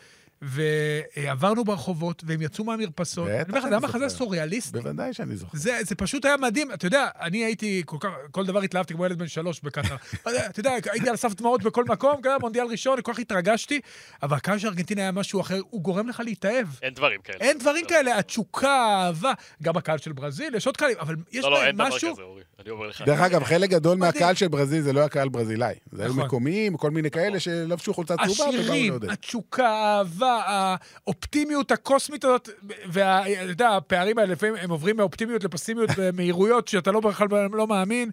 ועברנו ברחובות, והם יצאו מהמרפסות.
בטח
אני אומר לך, זה
אני
היה מחזה
זוכר.
סוריאליסטי.
בוודאי שאני זוכר.
זה, זה פשוט היה מדהים. אתה יודע, אני הייתי כל כך, כל דבר התלהבתי כמו ילד בן שלוש (laughs) בקטר. אתה יודע, הייתי על סף דמעות בכל מקום, גם במונדיאל ראשון, כל כך התרגשתי, אבל הקהל של ארגנטינה היה משהו אחר, הוא גורם לך להתאהב.
אין דברים כאלה. לא,
אין דברים כאלה, התשוקה, האהבה, גם הקהל של ברזיל, יש עוד קהלים, אבל יש
לא, לא,
בהם
אין דבר
משהו...
כזה, אורי. אני אומר לך.
דרך אגב, חלק גדול מהקהל
מדהים.
של ברזיל זה לא היה קהל ברזילאי. זה היו
נכון.
מקומיים, כל מיני כאלה שלבשו חולצה צהובה ובאו
השירים,
לעודד.
התשוקה, האהבה, האופטימיות הקוסמית הזאת, ואתה יודע, הפערים האלה לפעמים הם עוברים מאופטימיות לפסימיות במהירויות שאתה לא בכלל לא מאמין.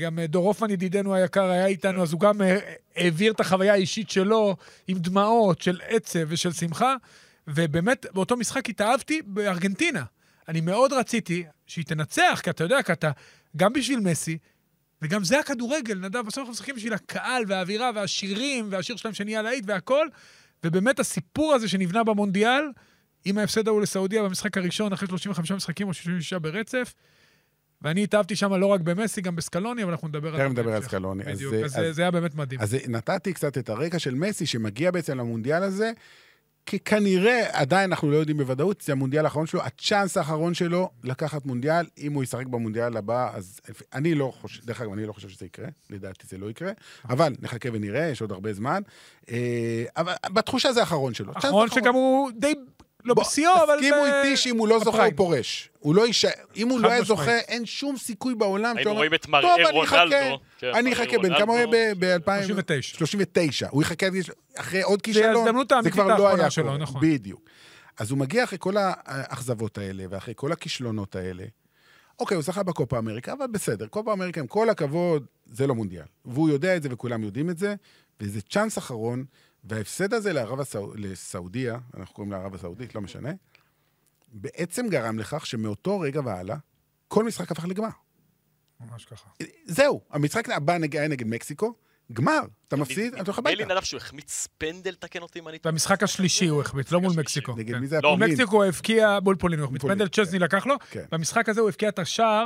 גם אה, דור הופמן ידידנו היקר היה איתנו, אז הוא גם אה, העביר את החוויה האישית שלו עם דמעות של עצב ושל שמחה, ובאמת באותו משחק התאהבתי בארגנטינה. אני מאוד רציתי שהיא תנצח, כי אתה יודע, כי אתה, גם בשביל מסי, וגם זה הכדורגל, נדב, בסוף אנחנו משחקים בשביל הקהל והאווירה והשירים והשיר שלהם שנהיה להיט והכל, ובאמת הסיפור הזה שנבנה במונדיאל, עם ההפסד ההוא לסעודיה במשחק הראשון, אחרי 35 משחקים או 66 ברצף, ואני התאהבתי שם לא רק במסי, גם בסקלוני, אבל אנחנו נדבר על
תכף נדבר על
בהמשך.
סקלוני, אז
בדיוק,
זה-
אז זה-
אז-
זה היה באמת מדהים.
אז נתתי קצת את הרקע של מסי, שמגיע בעצם למונדיאל הזה, כי כנראה, עדיין אנחנו לא יודעים בוודאות, זה המונדיאל האחרון שלו, הצ'אנס האחרון שלו לקחת מונדיאל, אם הוא ישחק במונדיאל הבא, אז אני לא חושב, דרך אגב, אני לא חושב שזה יקרה, לדעתי זה לא יקרה, אבל נחכה ונראה, יש עוד הרבה זמן. אה, אבל בתחושה זה האחרון שלו. צ'אנס
אחרון
אחרון.
שגם הוא די, לא
בוא,
בשיאו, אבל...
תסכימו
ב-
איתי שאם הוא לא זוכה, הוא
בפריים.
פורש. הוא לא יישאר, אם הוא לא היה
משמעית.
זוכה, אין שום סיכוי בעולם.
היינו
שהוא אומר,
רואים את מראה
"טוב, אני
רונלדו".
אחכה,
כן,
אני
מראה
אחכה, בן כמה הוא
רונלדו.
היה ב-2000?
39.
39. הוא יחכה עד גיל- אחרי עוד כישלון.
ההזדמנות האמיתית
כבר לא
האחרונה
היה
שלו,
קורה.
נכון.
בדיוק. אז הוא מגיע אחרי כל האכזבות האלה, ואחרי כל הכישלונות האלה. אוקיי, הוא זכה בקופה אמריקה, אבל בסדר, קופה אמריקה, עם כל הכבוד, זה לא מונדיאל. והוא יודע את זה וכולם יודעים את זה, וזה צ'אנס אחרון, וההפסד הזה לערב הסעוד... לסעודיה, אנחנו קוראים לה ערב הסעודית, לא משנה, בעצם גרם לכך שמאותו רגע והלאה, כל משחק הפך לגמר.
ממש ככה.
זהו, המשחק הבא נגד- היה נגד מקסיקו, גמר. אתה
כן,
מפסיד, אתה הולך הביתה.
מילין עליו שהוא החמיץ פנדל, תקן אותי אם אני... טועה.
במשחק השלישי הוא החמיץ, לא מול מקסיקו.
נגד
כן.
מי זה היה
לא,
פולין?
מקסיקו הבקיע מול פולין, הוא החמיץ.
פולין,
פנדל צ'זני לקח לו.
כן.
במשחק הזה הוא הבקיע את השער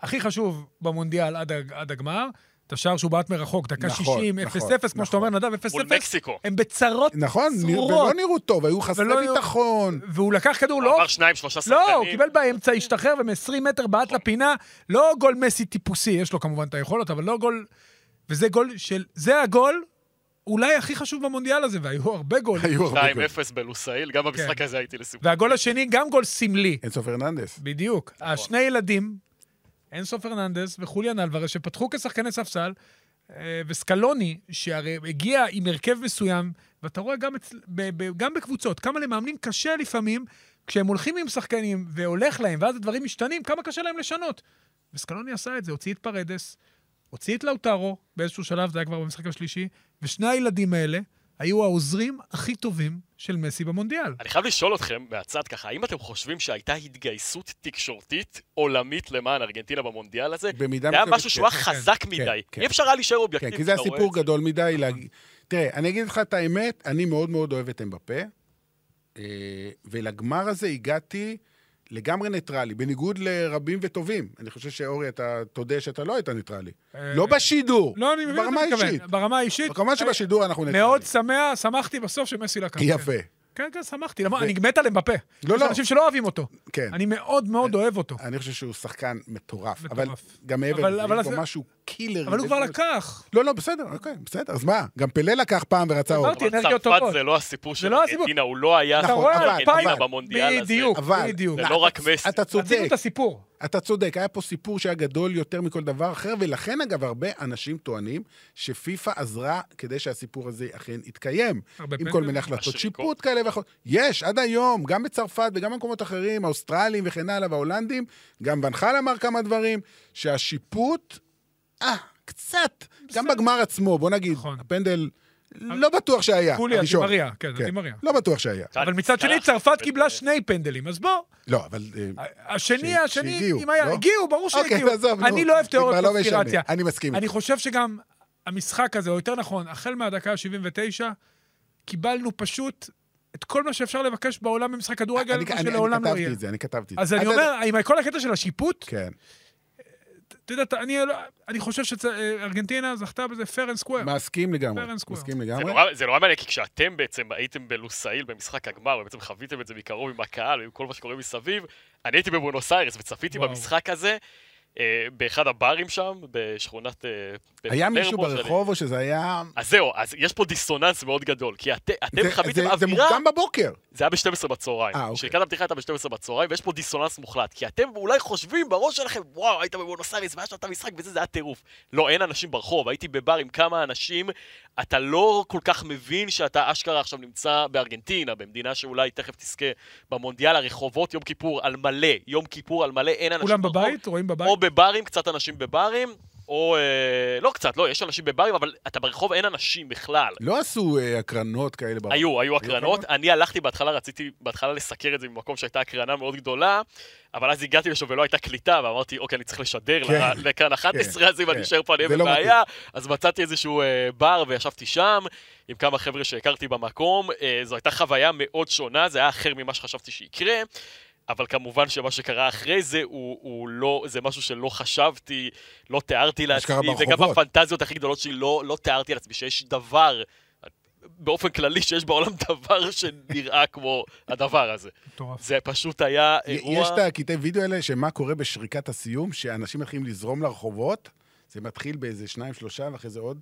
הכי חשוב במונדיאל עד ה- עד הגמר. את השער שהוא בעט מרחוק, דקה
נכון,
60,
נכון,
0-0, כמו שאתה אומר, נדב, 0-0.
מול מקסיקו.
הם בצרות
נכון, נרא-
צרורות.
ולא נראו טוב, היו חסרי
ולא-
ביטחון.
והוא לקח כדור, לא...
עבר שניים, שלושה שחקנים. נכון.
לא, הוא קיבל באמצע, השתחרר, ומ-20 מטר בעט לפינה, לא גול מסי טיפוסי, יש לו כמובן את היכולות, אבל לא גול... וזה גול של... זה הגול אולי הכי חשוב במונדיאל הזה, והיו הרבה
אה,
גולים.
היו הרבה גולים.
2-0 בלוסאיל, גם במשחק
כן.
הזה הייתי לסיפור.
והגול השני, גם גול סמלי.
אינסו פרננדס.
בדיוק. השני ילדים, אינסו פרננדס וחוליאן אלוורז, שפתחו כשחקני ספסל, אה, וסקלוני, שהרי הגיע עם הרכב מסוים, ואתה רואה גם, אצל, ב, ב, גם בקבוצות, כמה למאמנים קשה לפעמים, כשהם הולכים עם שחקנים והולך להם, ואז הדברים משתנים, כמה קשה להם לשנות. וסקלוני עשה את זה, הוציא את פרדס, הוציא את לאוטרו, באיזשהו שלב, זה היה כבר במשחק השלישי, ושני הילדים האלה היו העוזרים הכי טובים של מסי במונדיאל.
אני חייב לשאול אתכם, מהצד ככה, האם אתם חושבים שהייתה התגייסות תקשורתית עולמית למען ארגנטינה במונדיאל הזה?
במידה
זה היה
מסוימת,
משהו שהוא
כן,
היה חזק מדי.
כן.
אי אפשר היה להישאר
כן,
אובייקטיבי.
כי זה היה
אתה רואה
סיפור
את זה.
גדול מדי להגיד... תראה, אני אגיד לך את האמת, אני מאוד מאוד אוהב את אמבפה, אה, ולגמר הזה הגעתי לגמרי ניטרלי, בניגוד לרבים וטובים. אני חושב שאורי, אתה תודה שאתה לא היית ניטרלי. לא בשידור,
אה, לא, אני מבין
ברמה
מה אתה
האישית.
מתכוון. ברמה האישית.
כמובן שבשידור אנחנו ניטרלים.
מאוד שמח, שמחתי בסוף שמסי לקח.
יפה.
כן, כן, שמחתי. למה? אני מת עליהם בפה.
לא,
יש
לא.
אנשים שלא אוהבים אותו.
כן. אה,
אני מאוד מאוד אוהב אותו.
אני חושב שהוא שחקן מטורף. אבל
מטורף.
גם מעבר
אבל-
לזה,
אבל
יש
אז-
פה משהו קילר.
אבל הוא
יש
כבר
פה-
לקח.
לא, לא, בסדר, אוקיי, בסדר. אז מה? גם פלא לקח פעם ורצה עוד.
אמרתי,
אבל
אנרגיות
צרפת
טובות.
זה לא הסיפור של
לא הסיפור.
ארגנטינה, הוא לא היה
נכון,
סיפור
אבל-
ארגנטינה
אבל-
במונדיאל הזה.
בדיוק.
אבל...
בדיוק.
זה לא רק מסי.
אתה
רצינו
צודק. אה,
את הסיפור.
אתה צודק, היה פה סיפור שהיה גדול יותר מכל דבר אחר, ולכן אגב, הרבה אנשים טוענים שפיפ"א עזרה כדי שהסיפור הזה אכן יתקיים.
הרבה
עם כל
פנדלים.
מיני החלטות
השריקות.
שיפוט כאלה ואחרות. יש, עד היום, גם בצרפת וגם במקומות אחרים, האוסטרלים וכן הלאה, וההולנדים, גם ונחל אמר כמה דברים, שהשיפוט, אה, קצת, גם בגמר עצמו, בוא נגיד,
נכון.
הפנדל, לא בטוח שהיה,
קולי,
הראשון.
דימריה, כן, זה דימריה.
לא בטוח שהיה.
כאן כן.
אבל מצד שני,
צלח.
צרפת קיבלה שני פנדלים, אז בוא.
לא, אבל... אה,
השני,
ש-
השני,
שהגיעו,
אם היה,
לא?
הגיעו, ברור
אוקיי,
שהגיעו.
עזוב, נו,
אני לא אוהב
זה כבר
תיאוריות
לא משנה.
קונספירציה.
אני מסכים
אני
איתך.
חושב שגם המשחק הזה, או יותר נכון, החל מהדקה ה-79, קיבלנו פשוט את כל מה שאפשר לבקש בעולם במשחק כדורגל,
אני-
מה
אני-
שלעולם לא
אני
יהיה.
כתבתי את זה, אני כתבתי את זה.
אז אני
אתה-
אומר, עם כל הקטע של השיפוט,
כן.
אתה יודע, אתה- אני לא- אני חושב שארגנטינה זכתה בזה fair and square.
מסכים לגמרי.
Fair and square.
מסכים
זה
לגמרי.
נורא- זה נורא מעניין, כי כשאתם בעצם הייתם בלוסאיל במשחק הגמר, ובעצם חוויתם את זה מקרוב עם הקהל ועם כל מה שקורה מסביב, אני הייתי בבונוס איירס וצפיתי
וואו.
במשחק הזה, אה, באחד הברים שם, בשכונת... אה,
היה מישהו
פלרמו, שאני-
ברחוב או שזה היה...
אז זהו, אז יש פה דיסוננס מאוד גדול, כי את,
זה-
אתם
זה-
חוויתם
זה
אווירה,
מוקדם בבוקר.
זה היה ב-12 בצהריים.
אה, אוקיי.
כשלקראת הפתיחה הייתה ב-12 בצהריים, ויש פה דיסוננס מוחלט, כי אתם אולי חושבים בראש שלכם, וואו, היית בבונוס איירס, והיה שם את המשחק, וזה, זה היה טירוף. לא, אין אנשים ברחוב, הייתי בבר עם כמה אנשים, אתה לא כל כך מבין שאתה אשכרה עכשיו נמצא בארגנטינה, במדינה שאולי תכף תזכה במונדיאל, הרחובות, יום כיפור על מלא, יום כיפור על מלא, אין אנשים
נכון.
כולם
ברחוב.
בבית? רואים בבית?
או בברים, קצת אנשים בברים, או... אה, לא קצת, לא, יש אנשים בברים, אבל אתה ברחוב, אין אנשים בכלל.
לא עשו אה, הקרנות כאלה ברחוב.
היו, היו הקרנות.
הקרנות?
אני הלכתי בהתחלה, רציתי בהתחלה לסקר את זה ממקום שהייתה הקרנה מאוד גדולה, אבל אז הגעתי לשם ולא הייתה קליטה, ואמרתי, אוקיי, אני צריך לשדר
כן,
ל- לכאן 11, אז אם אני
כן.
אשאר פה אני
זה
אהיה
לא
בבעיה. אז מצאתי איזשהו אה, בר וישבתי שם, עם כמה חבר'ה שהכרתי במקום. אה, זו הייתה חוויה מאוד שונה, זה היה אחר ממה שחשבתי שיקרה. אבל כמובן שמה שקרה אחרי זה הוא, הוא לא, זה משהו שלא חשבתי, לא תיארתי
שקרה
לעצמי, זה גם
ברחובות.
הפנטזיות הכי גדולות שלי, לא, לא תיארתי לעצמי שיש דבר, באופן כללי, שיש בעולם (laughs) דבר שנראה כמו הדבר הזה.
מטורף.
זה פשוט היה
י-
אירוע...
אוקיי. יש את הקטעי וידאו האלה, שמה קורה בשריקת הסיום, שאנשים מתחילים לזרום לרחובות, זה מתחיל באיזה שניים, שלושה, ואחרי זה עוד,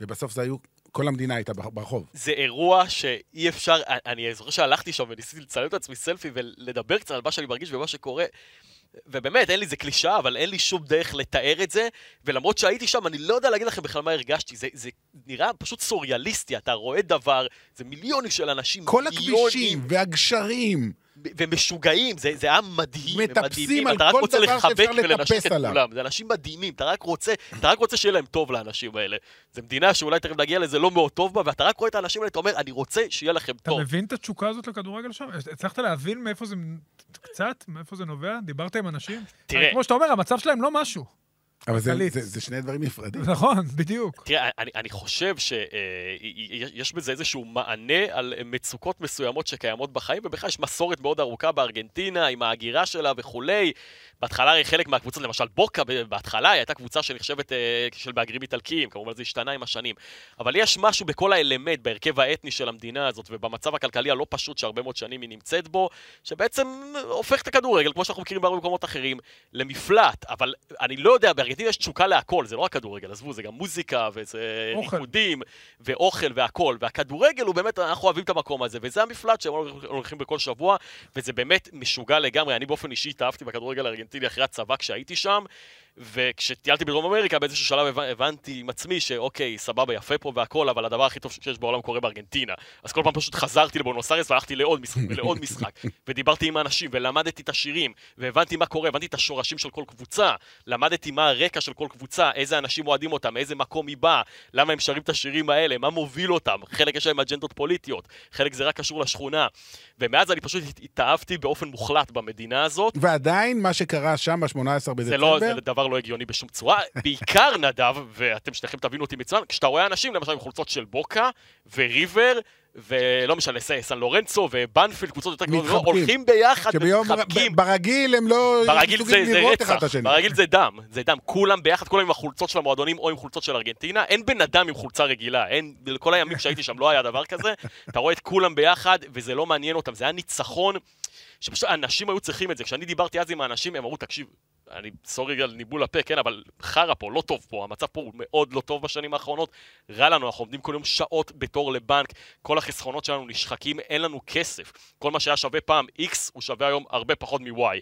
ובסוף זה היו, כל המדינה הייתה ברח- ברחוב.
זה אירוע שאי אפשר, אני זוכר שהלכתי שם וניסיתי לצלם את עצמי סלפי ולדבר קצת על מה שאני מרגיש ומה שקורה. ובאמת, אין לי, זה קלישאה, אבל אין לי שום דרך לתאר את זה, ולמרות שהייתי שם, אני לא יודע להגיד לכם בכלל מה הרגשתי. זה, זה נראה פשוט סוריאליסטי, אתה רואה דבר, זה מיליונים של אנשים,
כל
מיליונים.
הכבישים והגשרים,
והם משוגעים, זה, זה עם מדהים, הם
מטפסים
מדהימים,
על
אתה רק
כל
רוצה
דבר
לחבק
שאפשר
ולנשק
לטפס
את
עליו.
כולם, זה אנשים מדהימים, אתה רק רוצה, אתה רק רוצה שיהיה להם טוב לאנשים האלה. זו מדינה שאולי תכף נגיע לזה לא מאוד טוב בה, ואתה רק רואה את האנשים האלה, אתה אומר, אני רוצה שיהיה לכם
אתה
טוב.
מבין את התשוקה הזאת לכדורגל שם? הצלחת להבין מאיפה זה, קצת, מאיפה זה נובע? דיברת עם אנשים?
תראה.
אבל כמו שאתה אומר, המצב שלהם לא משהו.
אבל זה-
כלכלית.
זה זה שני דברים נפרדים.
נכון, בדיוק.
תראה, אני, אני חושב אה, שיש בזה איזשהו מענה על מצוקות מסוימות שקיימות בחיים, ובכלל יש מסורת מאוד ארוכה בארגנטינה, עם ההגירה שלה וכולי. בהתחלה הרי חלק מהקבוצות, למשל בוקה, ב- בהתחלה היא הייתה קבוצה שנחשבת אה, של מהגרים איטלקיים, כמובן זה השתנה עם השנים. אבל יש משהו בכל האלמנט, בהרכב האתני של המדינה הזאת, ובמצב הכלכלי הלא פשוט שהרבה מאוד שנים היא נמצאת בו, שבעצם הופך את הכדורגל, כמו שאנחנו מכירים בהרבה מקומות אחרים, למפלט. אבל אני לא יודע, בארגנטינה יש תשוקה להכל, זה לא רק כדורגל, עזבו, זה גם מוזיקה, וזה
אוכל.
ריקודים, ואוכל והכל. והכדורגל הוא באמת, אנחנו אוהבים את המקום הזה, וזה המפלט שהם הולכים בכל שבוע, וזה באמת משוגע לגמרי. אני באופן אישי התאהבתי בכדורגל הארגנטיני אחרי הצבא כשהייתי שם. וכשטיילתי בדרום אמריקה, באיזשהו שלב הבנ- הבנתי עם עצמי שאוקיי, סבבה, יפה פה והכל, אבל הדבר הכי טוב שיש בעולם קורה בארגנטינה. אז כל פעם פשוט חזרתי לבונוס איירס והלכתי לעוד משחק, ולעוד משחק, ודיברתי עם האנשים, ולמדתי את השירים, והבנתי מה קורה, הבנתי את השורשים של כל קבוצה, למדתי מה הרקע של כל קבוצה, איזה אנשים אוהדים אותם, מאיזה מקום היא באה, למה הם שרים את השירים האלה, מה מוביל אותם, חלק יש להם אג'נדות פוליטיות, חלק זה רק קשור לשכונה. ומאז אני פשוט הת- התאהבתי באופן מוחלט במדינה הזאת,
ועדיין, מה שקרה שם ב-18
זה לא,
בדצמבר,
זה דבר לא הגיוני בשום צורה. (laughs) בעיקר, נדב, ואתם שניכם תבינו אותי מצוין, כשאתה רואה אנשים, למשל עם חולצות של בוקה וריבר, ולא משנה, ס- סן לורנצו ובנפילד, קבוצות יותר גדולות, לא
מתחבקים.
הולכים ביחד
שביום,
ומתחבקים.
ב- ברגיל הם לא
ברגיל זה,
מסוגלים
זה
לראות אחד את
רצח,
השני.
ברגיל זה דם, זה דם. כולם ביחד, כולם עם החולצות של המועדונים או עם חולצות של ארגנטינה. אין בן אדם עם חולצה רגילה, אין, כל הימים שהייתי שם לא היה דבר כזה. אתה רואה את כולם ביחד, וזה לא מעניין אותם, זה היה ניצחון, שפשוט אנשים היו צריכים את זה. כשאני דיברתי אז עם האנשים, הם אמרו, תקשיב, אני סורי על ניבול הפה, כן, אבל חרא פה, לא טוב פה, המצב פה הוא מאוד לא טוב בשנים האחרונות, רע לנו, אנחנו עומדים כל יום שעות בתור לבנק, כל החסכונות שלנו נשחקים, אין לנו כסף. כל מה שהיה שווה פעם X, הוא שווה היום הרבה פחות מ-Y.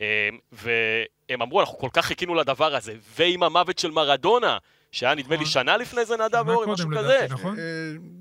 אמ, והם אמרו, אנחנו כל כך חיכינו לדבר הזה, ועם המוות של מרדונה, שהיה נדמה לי
נכון.
שנה לפני זה, נדב
שנה
אורי,
קודם
משהו
לדעתי,
כזה.
נכון?
אה,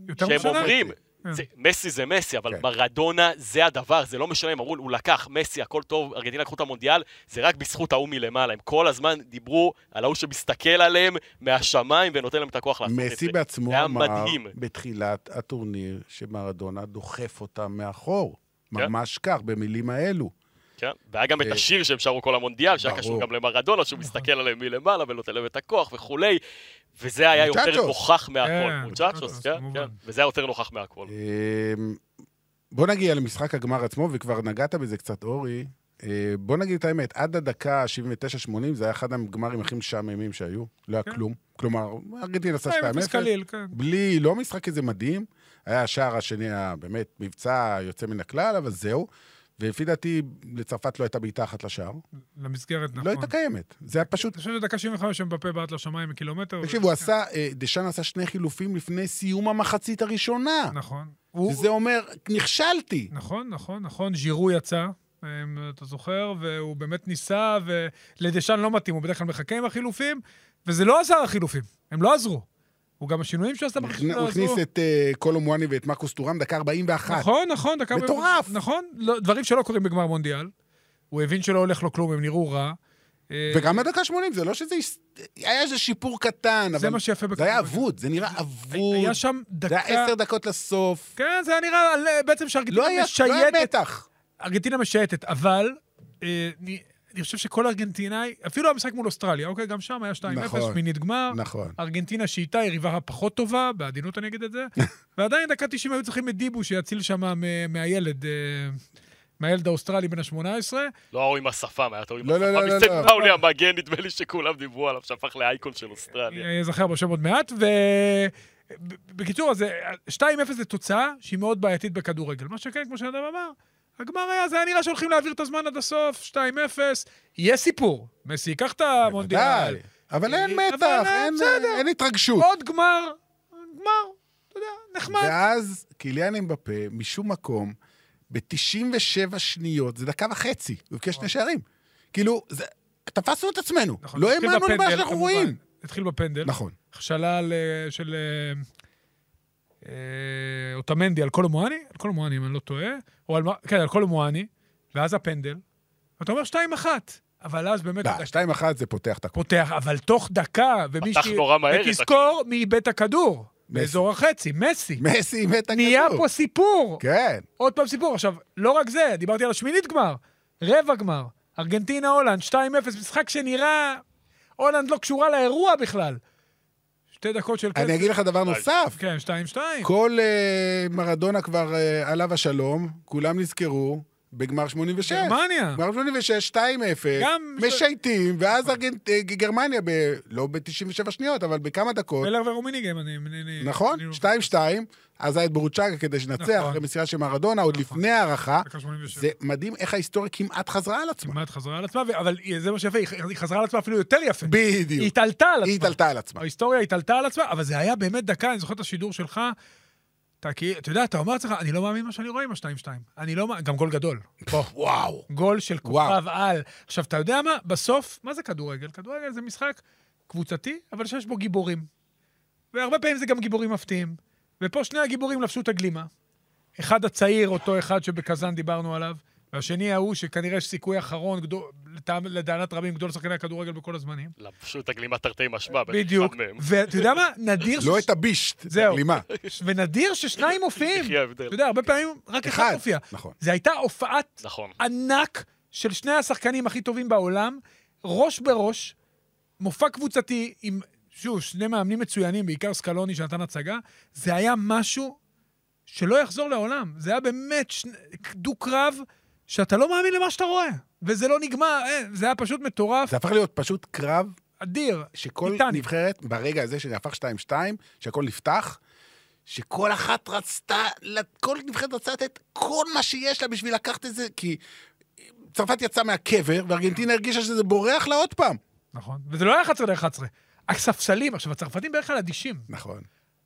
יותר
שהם
משנה?
אומרים,
כן.
זה- מסי זה מסי, אבל
כן.
מרדונה זה הדבר, זה לא משנה, הם אמרו, הוא לקח, מסי, הכל טוב, ארגנטינה לקחו את המונדיאל, זה רק בזכות ההוא מלמעלה. הם כל הזמן דיברו על ההוא שמסתכל עליהם מהשמיים ונותן להם את הכוח לעשות את זה.
מסי בעצמו
זה היה
אמר
מדהים.
בתחילת הטורניר שמרדונה דוחף אותם מאחור. ממש כך, במילים האלו.
כן, והיה גם את
אה,
השיר שהם שרו כל המונדיאל, שהיה
ברור. נכון.
קשור גם למרדונה, שהוא מסתכל עליהם מלמעלה ונותן להם את הכוח וכולי, וזה היה יותר
מוצ'צ'וס.
נוכח מהכל.
כן,
מוצ'צ'וס,
מוצ'צ'וס,
כן,
כמובן.
כן, וזה היה יותר נוכח מהכל.
אמ, בוא נגיע למשחק הגמר עצמו, וכבר נגעת בזה קצת, אורי. אה, בוא נגיד את האמת, עד הדקה 79-80 זה היה אחד הגמרים הכי משעממים שהיו. לא היה
כן.
כלום. כלומר, ארגנטינה עשתה 2-0.
אה, אפס קליל, כן.
בלי, לא משחק איזה מדהים. היה השער השני, היה באמת מבצע יוצא מן הכלל, אבל זהו. ולפי דעתי, לצרפת לא הייתה בעיטה אחת לשער.
למסגרת, נכון.
לא הייתה קיימת. זה היה פשוט...
אני חושב שדקה 75 שמבפה בעט לשמיים מקילומטר. כן.
תקשיב,
אבל-
הוא עשה, אה, דשאן עשה שני חילופים לפני סיום המחצית הראשונה.
נכון. הוא-
וזה אומר, נכשלתי.
נכון, נכון, נכון, ז'ירו יצא, אם אתה זוכר, והוא באמת ניסה, ולדשאן לא מתאים, הוא בדרך כלל מחכה עם החילופים, וזה לא עזר החילופים, הם לא עזרו. הוא גם השינויים שהוא עשה בחילופים
הוא
לא עזרו.
הכניס את אה, קולומואני ואת מרקוס טורם, דקה 41.
נכון, נכון, דקה...
מטורף.
נכון, לא, דברים שלא קורים בגמר מונדיאל. הוא הבין שלא הולך לו כלום, הם נראו רע. אה,
וגם הדקה 80, זה לא שזה... הס- היה איזה שיפור קטן,
זה
אבל
מה שיפה
זה היה
בכדורגל.
אבוד, זה נראה אבוד.
אה, היה שם
זה
דקה...
היה עשר דקות לסוף.
כן, זה היה נראה על- בעצם
לא היה
שארגנטינה
לא היה
משייטת
מתח.
ארגנטינה משייטת, אבל אה, אני, אני חושב שכל ארגנטינאי, אפילו המשחק מול אוסטרליה, אוקיי? גם שם היה 2-0,
נכון.
מינית גמר.
נכון.
ארגנטינה שאיתה יריבה הפחות טובה, בעדינות אני אגיד את
(laughs)
זה, ועדיין דקה 90 היו צריכים את דיבו שיציל שם מ- מהילד, אה, מהילד האוסטרלי בן ה-18.
לא ההוא עם השפם, היה טוב עם
לא, לא,
השפם.
לא, לא,
מסט
לא.
פאולי המגן, נדמה לי שכולם דיברו עליו, שהפך לאייקון של אוסטרליה.
אני אזכר בשם עוד מעט, ו... ב- בקיצור, אז אה, 2-0 זו תוצאה שהיא מאוד בעייתית בכדורגל. מה שכן, כמו שאדם אמר, הגמר היה, זה היה נראה שהולכים להעביר את הזמן עד הסוף, 2-0, יהיה סיפור. מסי ייקח את המונדיאל.
ודאי. אבל אין
אה,
מתח,
אבל, אה,
אין-
בסדר.
אין התרגשות.
עוד גמר, גמר, אתה יודע, נחמד.
ואז קיליאן אמבפה, משום מקום, ב-97 שניות, זה דקה וחצי, הוא הבקיע שני שערים. כאילו, זה- תפסנו את עצמנו.
נכון,
לא
התחיל
האמנו למה
בפנדל,
שאנחנו נכון.
כמובן.
רואים.
התחיל בפנדל.
נכון.
שלל אה, של... אה, אה, אוטמנדי על כל מואני, על כל מואני אם אני לא טועה, או על, מה- כן, על כל מואני, ואז הפנדל, ואתה אומר 2-1, אבל אז באמת...
לא, שתיים אחת זה פותח את הכול.
פותח, אבל תוך דקה, ומי
פתח נורא מהר את
ותזכור מי איבד את הכדור. באזור החצי, מסי.
(laughs) מסי איבד את הכדור.
נהיה פה סיפור.
כן.
עוד פעם סיפור. עכשיו, לא רק זה, דיברתי על השמינית גמר, רבע גמר, ארגנטינה הולנד, 2-0, משחק שנראה... הולנד לא קשורה לאירוע בכלל. שתי דקות של
אני אגיד לך דבר נוסף.
כן, 2-2.
כל אה, מרדונה כבר אה, עליו השלום, כולם נזכרו בגמר 86.
גרמניה.
גמר 86, 2-0,
גם-
משייטים, ואז ארגנט- אה, גרמניה, ב- לא ב-97 שניות, אבל בכמה דקות,
פלר ורומיניגם, אני... אני- אני-
נכון?
אני-
2-2, אז היה את בורוצ'אגה כדי שנצח,
נכון.
אחרי מסירה של מרדונה, עוד לפני ההערכה.
דקה 87.
זה מדהים איך ההיסטוריה כמעט חזרה על עצמה.
כמעט חזרה על עצמה, ו- אבל זה מה שיפה, היא ח- היא חזרה על עצמה אפילו יותר יפה. היא
בדיוק.
התעלתה על עצמה.
היא התעלתה על עצמה.
ההיסטוריה התעלתה על עצמה, אבל זה היה באמת דקה, אני זוכר את השידור שלך. אתה כי, אתה יודע, אתה אומר לעצמך, אני לא מאמין מה שאני רואה עם ה-2-2. אני לא מאמין, גם גול גדול.
וואו.
גול של כוכב
וואו.
על. עכשיו, אתה יודע מה? בסוף, מה זה כדורגל? כדורגל זה משחק קבוצתי, אבל שיש בו גיבורים. והרבה פעמים זה גם גיבורים מפתיעים. ופה שני הגיבורים לבשו את הגלימה. אחד הצעיר, אותו אחד שבקזאן דיברנו עליו, והשני ההוא שכנראה יש סיכוי אחרון, גדול, לטעם- לדענת רבים, גדול שחקני הכדורגל בכל הזמנים.
לבשו את הגלימה תרתי משמע. באחד
בדיוק.
מהם.
ואתה יודע מה? נדיר
לא את הבישט, את
זהו.
הגלימה.
ונדיר ששניים מופיעים.
יחי ההבדל.
אתה יודע, הרבה פעמים רק אחד
אחד,
מופיע.
נכון.
זו הייתה הופעת
נכון.
ענק של שני השחקנים הכי טובים בעולם, ראש בראש, מופע קבוצתי עם, שוב, שני מאמנים מצוינים, בעיקר סקלוני שנתן הצגה, זה היה משהו שלא יחזור לעולם. זה היה באמת שני- דו-קרב שאתה לא מאמין למה שאתה רואה. וזה לא נגמר, אין, זה היה פשוט מטורף,
זה הפך להיות פשוט קרב
אדיר.
שכל
טיטניק.
נבחרת, ברגע הזה שזה הפך 2-2, שהכל נפתח, שכל אחת רצתה, לת- כל נבחרת רצתה לתת כל מה שיש לה בשביל לקחת את זה, כי צרפת יצאה מהקבר, וארגנטינה הרגישה שזה בורח לה עוד פעם.
נכון. וזה לא היה 11 דרך 11. הספסלים, עכשיו, הצרפתים בערך כלל אדישים.
נכון.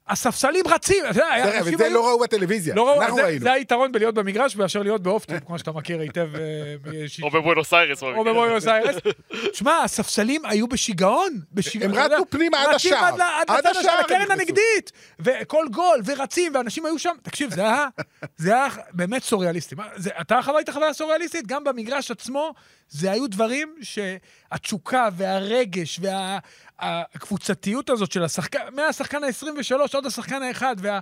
הספסלים רצים, אתה יודע,
דרך אגב,
אנשים
את זה
היו-
לא ראו בטלוויזיה,
לא ראו-
אנחנו
זה-
ראינו.
זה היתרון בלהיות במגרש מאשר להיות באופטיפ, כמו שאתה מכיר היטב, אה, מ-
או בבואנוס איירס.
או
אוקיי.
במקרה.
בבואנוס איירס. שמע, הספסלים היו בשיגעון. בשיגעון.
הם
אתה יודע,
רצו פנימה עד
רצים
השער.
עד ל- עד
עד
לצד של
השער הם
הקרן
נכנסו.
הנגדית. וכל גול, ורצים, ואנשים היו שם. תקשיב, זה היה זה היה באמת סוריאליסטי. מה, זה- אתה חווית חוויה סוריאליסטית? גם במגרש עצמו, זה היו דברים שהתשוקה והרגש והקבוצתיות הזאת של השחקן, מהשחקן ה-23 עד השחקן האחד, וה...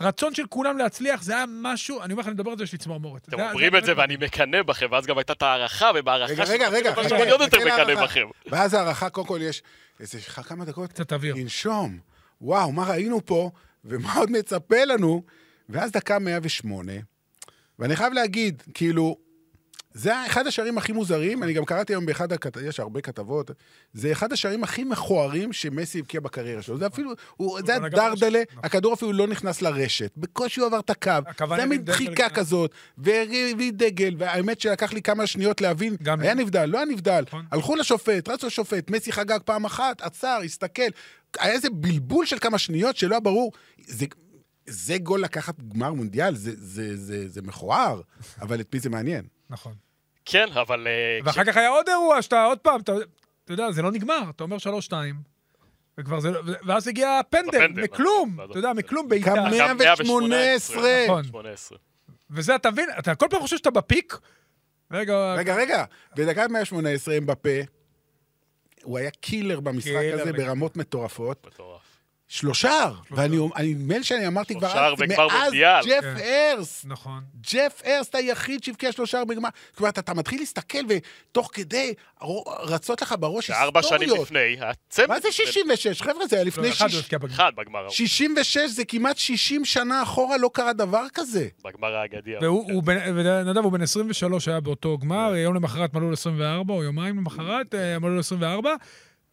רצון של כולם להצליח, זה היה משהו, אני אומר לך, אני מדבר על זה, יש לי צמרמורת.
אתם
זה היה-
אומרים
זה
את זה
באמת-
ואני מקנא בכם, ואז גם הייתה את ההערכה, ובהערכה...
רגע,
שאתם
רגע, רגע.
מקנאים
רגע,
בכם, אני עוד יותר
נחכה
מקנא
להערכה.
בכם.
ואז ההערכה, קודם כל יש איזה ש- כמה דקות,
קצת אוויר.
לנשום. וואו, מה ראינו פה, ומה עוד מצפה לנו? ואז דקה 108, ואני חייב להגיד, כאילו, זה היה אחד השערים הכי מוזרים, אני גם קראתי היום באחד הכתבות, יש הרבה כתבות, זה אחד השערים הכי מכוערים שמסי הבקיע בקריירה שלו. זה אפילו, הוא- זה היה
אבל גם-
דרדלה,
נכון.
הכדור אפילו לא נכנס לרשת, בקושי הוא עבר את הקו, זה
הכוונה
היה מין
עם דגל
דחיקה
גם.
כזאת, והביא דגל, והאמת שלקח לי כמה שניות להבין,
גם
היה
לי.
נבדל, לא היה נבדל.
נכון.
הלכו לשופט, רצו לשופט, מסי חגג פעם אחת, עצר, הסתכל. היה איזה בלבול של כמה שניות שלא היה ברור. זה, זה גול לקחת גמר מונדיאל, זה, זה, זה, זה מכוער, אבל את מי זה
(laughs)
מעניין?
נכון.
כן, אבל... אה, כש-
ואחר כך היה עוד אירוע, שאתה עוד פעם, אתה אתה יודע, זה לא נגמר, אתה אומר 3-2, וכבר זה לא... ואז הגיע הפנדל,
הפנדל,
מכלום,
נכון.
אתה יודע, מכלום
גם
בעיטה.
גם
118.
נכון.
18.
וזה, אתה מבין, אתה כל פעם חושב שאתה בפיק, רגע,
רגע, רגע, בדקה 118 הם בפה. הוא היה קילר במשחק
קילר
הזה
לגמרי.
ברמות מטורפות.
מטורף.
שלושר! ואני אני- נדמה לי שאני אמרתי כבר
שלושר
אז,
וגמר
מאז
מונדיאל.
ג'ף
כן.
ארס,
נכון.
ג'ף ארסט היחיד שהבקיע שלושה בגמר. זאת אומרת, אתה מתחיל להסתכל, ותוך כדי רו- רצות לך בראש
שארבע שנים
היסטוריות.
לפני, הצמד...
מה זה 66? חבר'ה, זה היה
לא,
לפני
אחד הוא
שיש-
הבקיע בגמר.
אחד בגמר ההוא,
66, זה כמעט 60 שנה אחורה, לא קרה דבר כזה.
בגמר האגדי. ההוא.
והוא, הוא בן- נדב, הוא בן 23 היה באותו
כן.
גמר, יום למחרת מלאו לו 24, או יומיים למחרת אה, מלאו לו 24,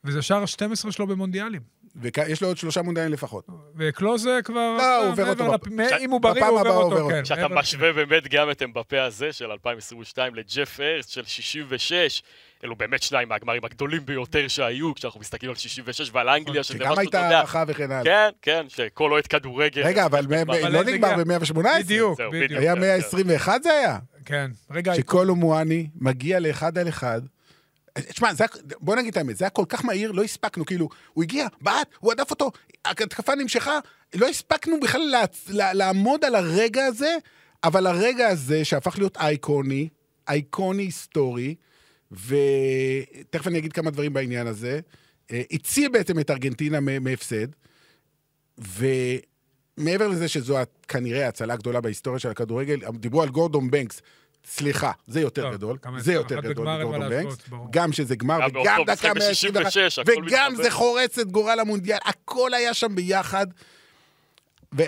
וזה שער ה-12 שלו במונדיאלים.
ויש לו עוד שלושה מונדיאלים לפחות.
וקלוזה כבר...
לא, הוא
אה,
עובר אותו
מעבר
בפ-
לפ- אם הוא
בפעם
בריא, הוא עובר
הבאה הוא
אותו,
עובר
כן.
אותו.
כשאתה
מעבר-
משווה באמת גם את אמבפה הזה של 2022 לג'ף ארס של 66, אלו באמת שניים מהגמרים הגדולים ביותר שהיו, כשאנחנו מסתכלים על 66 ועל אנגליה, שזה
שגם
משהו, אתה
הייתה
יודע.
הערכה וכן הלאה.
כן, כן, שכל אוהד כדורגל.
רגע, אבל מ-
אבל
לא
איזה
נגמר
גאה.
ב-118.
בדיוק,
זהו,
בדיוק.
בדיוק.
היה
כן,
121 זה היה?
כן, רגע,
שקולו מואני מגיע לאחד על אחד, תשמע, זה היה- בוא נגיד את האמת, זה היה כל כך מהיר, לא הספקנו, כאילו, הוא הגיע, בעט, הוא הדף אותו, התקפה נמשכה, לא הספקנו בכלל לה, לה, לעמוד על הרגע הזה, אבל הרגע הזה שהפך להיות אייקוני, אייקוני היסטורי, ותכף אני אגיד כמה דברים בעניין הזה, אה, הציל בעצם את ארגנטינה מ- מהפסד, ומעבר לזה שזו ה- כנראה ההצלה הגדולה בהיסטוריה של הכדורגל, אמ, דיברו על גורדון בנקס. סליחה, זה יותר
טוב,
גדול,
כמה-
זה יותר
אחת
גדול
בגמר,
מגורדון
אבל
בנקס,
להשוות, ברור.
גם שזה גמר
היה
וגם
באותו
דקה
משחק ב-66,
121,
הכל
וגם
מתחבר.
זה חורץ את גורל המונדיאל, הכל היה שם ביחד. אה,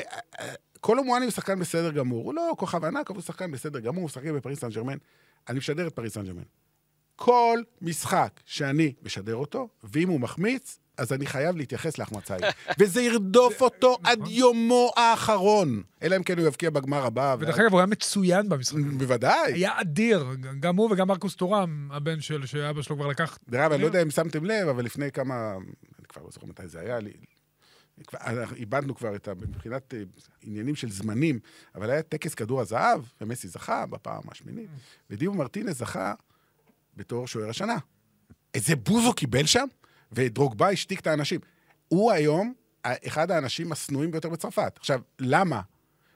וקולומואני הוא שחקן בסדר גמור, הוא לא כוכב ענק, אבל הוא שחקן בסדר גמור, הוא משחק בפריס סן ג'רמן. אני משדר את פריס סן ג'רמן. כל משחק שאני משדר אותו, ואם הוא מחמיץ, אז אני חייב להתייחס להחמצה
(laughs)
ההיא. וזה ירדוף אותו עד יומו האחרון. אלא אם כן הוא יבקיע בגמר הבא. ואז-
ודרך אגב, הוא היה מצוין במשחק.
בוודאי.
היה אדיר, גם הוא וגם מרקוס טורם, הבן של, שאבא שלו כבר לקח.
דרך אגב, אני לא יודע אם שמתם לב, אבל לפני כמה... אני כבר לא זוכר מתי זה היה לי. כבר- אנחנו איבדנו כבר את ה... מבחינת אה, עניינים של זמנים, אבל היה טקס כדור הזהב, ומסי זכה בפעם השמינית, ודיבו מרטינס זכה בתור שוער השנה. איזה בוז הוא קיבל שם, ודרוגבה השתיק את האנשים. הוא היום ה- אחד האנשים השנואים ביותר בצרפת. עכשיו, למה?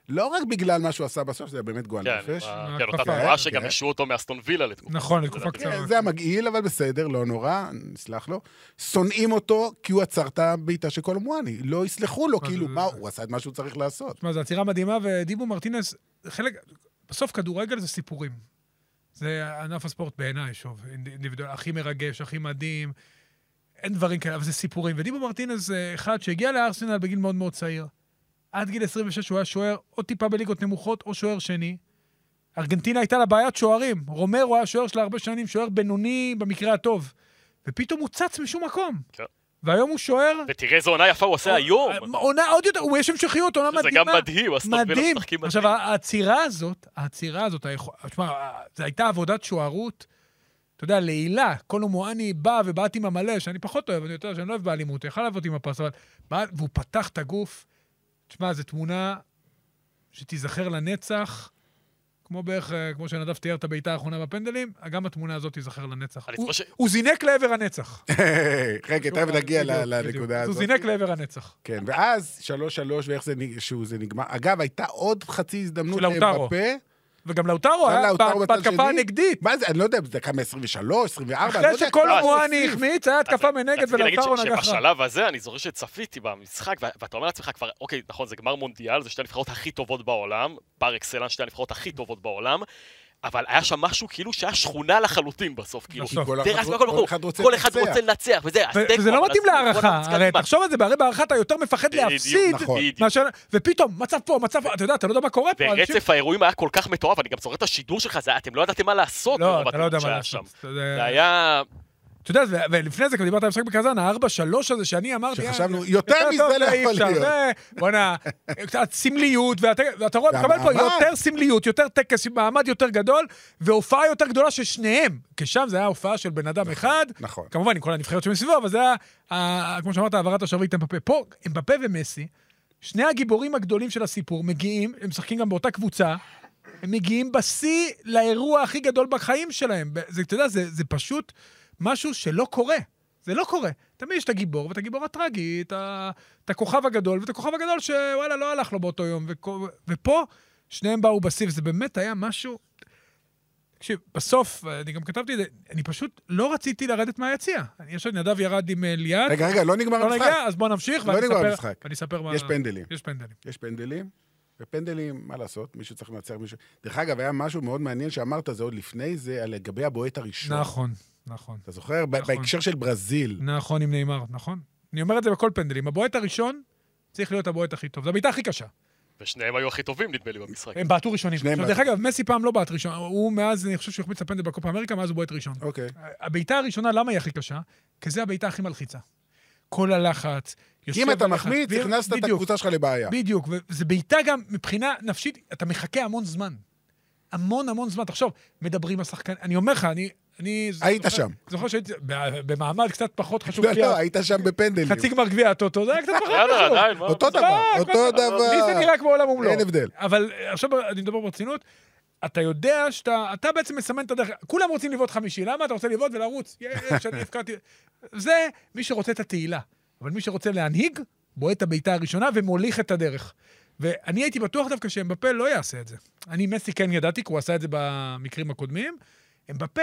לא רק בגלל מה שהוא עשה בסוף, זה היה באמת גועל
כן,
נפש.
אה, כן, אותה
ההתקפה.
תנועה שגם
כן.
השעו אותו מאסטון וילה לתקופה.
נכון, לתקופה
לדעתי.
קצרה.
זה היה מגעיל, אבל בסדר, לא נורא, נסלח לו. שונאים אותו כי הוא עצר את הבעיטה של קולומואני. לא יסלחו לו,
אז-
כאילו, מה, הוא עשה את מה שהוא צריך
(laughs)
לעשות.
תשמע, זו עצירה מדהימה, ודיבו מרטינס, חלק, בסוף כדורגל זה סיפורים. זה ענף הספורט בעיניי, שוב, אינדיבידואל, הכי מרגש, הכי מדהים, אין דברים כאלה, אבל זה סיפורים. ודיבו מרטינס זה אחד שהגיע לארסנל בגיל מאוד מאוד צעיר. עד גיל 26 הוא היה שוער או טיפה בליגות נמוכות או שוער שני. ארגנטינה הייתה לה בעיית שוערים. רומרו היה שוער שלה הרבה שנים, שוער בינוני במקרה הטוב. ופתאום הוא צץ משום מקום.
כן.
והיום הוא שוער...
ותראה איזה עונה יפה הוא עושה
נכון.
היום.
אה, עונה עוד יותר, הוא יש המשכיות, עונה
זה
מדהימה.
גם מדהים, אסטון וילה
מדהים.
משחקים מדהים.
עכשיו, העצירה הזאת, העצירה הזאת, היכול- תשמע, זו הייתה עבודת שוערות, אתה יודע, לעילה. קולו מואני בא ובעט עם המלא, שאני פחות אוהב, אני יותר, שאני לא אוהב באלימות, יכל לעבוד עם הפס, אבל... בעט- והוא פתח את הגוף. תשמע, זו תמונה שתיזכר לנצח, כמו בערך, אה, כמו שנדב תיאר את הבעיטה האחרונה בפנדלים, אה, גם התמונה הזאת תיזכר לנצח.
אני
הוא-
זוכר ש-
הוא זינק לעבר הנצח.
רגע, תכף נגיע ל-
בדיוק,
לנקודה
בדיוק. אז הוא
הזאת.
זינק לעבר הנצח.
כן, ואז, שלוש שלוש, ואיך זה נג- שהוא- זה נגמר. אגב, הייתה עוד חצי הזדמנות
של לאוטרו.
לאמבפה.
וגם לאוטרו
גם
היה
לאוטרו
בה-
בצד
בהתקפה
שני.
הנגדית.
מה זה, אני לא יודע, זה דקה מ-23, 24, אני לא
אחרי
יודע.
שכל
לא,
המואני
תוסיף.
החמיץ, היה התקפה מנגד
רציתי להגיד
ולאוטרו
ש-
נגח רע.
שבשלב הזה, אני זוכר שצפיתי במשחק, ו- ואתה אומר לעצמך כבר, אוקיי, נכון, זה גמר מונדיאל, זה שתי הנבחרות הכי טובות בעולם, פר אקסלנס, שתי הנבחרות הכי טובות בעולם, אבל היה שם משהו כאילו שהיה שכונה לחלוטין בסוף, כאילו.
בסוף.
כל
תראה,
אחד-
אז מה כל אחד רוצה כל אחד רוצה לנצח, וזה,
ו-
אז תיקו,
וזה לא
אבל
מתאים
אז בוא
להערכה,
ננצח
הרי
את
תחשוב על זה, בהרי בהערכה אתה יותר מפחד
בדיוק,
להפסיד,
נכון.
בדיוק.
מאשר... ופתאום, מצב פה, מצב פה, אתה יודע, אתה לא יודע מה קורה פה. אנשים-
ורצף האירועים היה כל כך מטורף, אני גם זוכר את השידור שלך, זה היה- אתם לא ידעתם מה לעשות.
לא,
מרוב
אתה לא יודע
הטירוף
מה
שהיה
לעשות. אה.
שם.
אתה יודע-
זה היה...
אתה יודע, ו- ולפני זה, כבר דיברת על המשחק בקזאן, ה-4-3 הזה שאני אמרתי... אה,
שחשבנו,
זה-
יותר מזה
טוב,
לא
אי
יכול
אפשר,
להיות.
זה- בוא'נה, קצת סמליות, ואתה ואתה רואה, מקבל פה
והמעמד.
יותר סמליות, יותר טקס, מעמד יותר גדול, והופעה יותר גדולה של שניהם. כי שם זה היה הופעה של בן אדם אחד,
נכון.
כמובן עם כל הנבחרת שמסביבו, אבל זה היה, ה- כמו שאמרת, העברת השרביט אמבפה. פה, אמבפה ומסי, שני הגיבורים הגדולים של הסיפור, מגיעים, הם משחקים גם באותה קבוצה, הם מגיעים בשיא לאירוע הכי גדול בחיים שלהם. זה, אתה יודע, זה, זה פשוט משהו שלא קורה. זה לא קורה. תמיד יש את הגיבור ואת הגיבור הטרגי, את, ה- את הכוכב הגדול ואת הכוכב הגדול שוואלה, לא הלך לו באותו יום. וכו, ופה, שניהם באו בשיא, וזה באמת היה משהו... תקשיב, בסוף, אני גם כתבתי את זה, אני פשוט לא רציתי לרדת מהיציע. אני- יש לי נדב ירד עם אה, ליאת,
רגע, רגע, לא נגמר
לא
המשחק.
נגיע, אז בוא נמשיך,
לא
ואני
נגמר
אספר-
המשחק.
ואני אספר מה...
יש פנדלים.
יש פנדלים.
יש פנדלים, ופנדלים, מה לעשות, מישהו צריך לנצח מישהו. דרך אגב, היה משהו מאוד מעניין שאמרת, זה עוד לפני זה, על לגבי הבועט הראשון.
נכון, נכון.
אתה זוכר? ב-
נכון.
בהקשר של ברזיל.
נכון, עם נאמר, נכון. אני אומר את זה בכל פנדלים. הבועט הראשון צריך להיות הבועט הכי טוב. זו הבעיטה הכי קשה.
ושניהם היו הכי טובים, נדמה לי, במשחק.
הם בעטו ראשונים.
שניהם
עכשיו, דרך אגב, מסי פעם לא בעט ראשון. הוא מאז, אני חושב שהוא החמיץ את הפנדל בקופה אמריקה, מאז הוא בועט ראשון.
אוקיי.
הבעיטה הראשונה, למה היא הכי קשה? כי זו הבעיטה הכי מלחיצה. כל הלחץ, יושב...
כי אם אתה
עליך,
מחמיץ,
בדיוק,
הכנסת את
בדיוק.
הקבוצה שלך לבעיה.
בדיוק, וזו בעיטה גם מבחינה נפשית, אתה מחכה המון זמן. המון המון זמן. תחשוב, מדברים עם השחקן, אני אומר לך, אני... אני
היית
זוכר- (laughs)
שם.
זוכר שהייתי ב- במעמד קצת
(laughs)
פחות חשוב.
לא,
כי ה-
לא, היית שם בפנדלים.
חצי גמר לא, גביע הטוטו, זה היה קצת פחות
יאללה,
חשוב.
עדיין, מה?
אותו דבר,
מה,
אותו
לי זה
דבר.
נראה כמו לא? עולם ומלואו.
אין הבדל. אמ,
אבל אה, עכשיו אני מדבר ברצינות, אתה יודע שאתה, אתה בעצם מסמן את הדרך, כולם רוצים לבעוט חמישי, למה אתה רוצה לבעוט ולרוץ? יש, אני הפקעתי... זה מי שרוצה את התהילה. אבל מי שרוצה להנהיג, בועט את הבעיטה הראשונה ומוליך את הדרך. ואני הייתי בטוח דווקא שאמבפה לא יעשה את זה. אני מסי כן ידעתי, כי הוא עשה את זה במקרים הקודמים. אמבפה,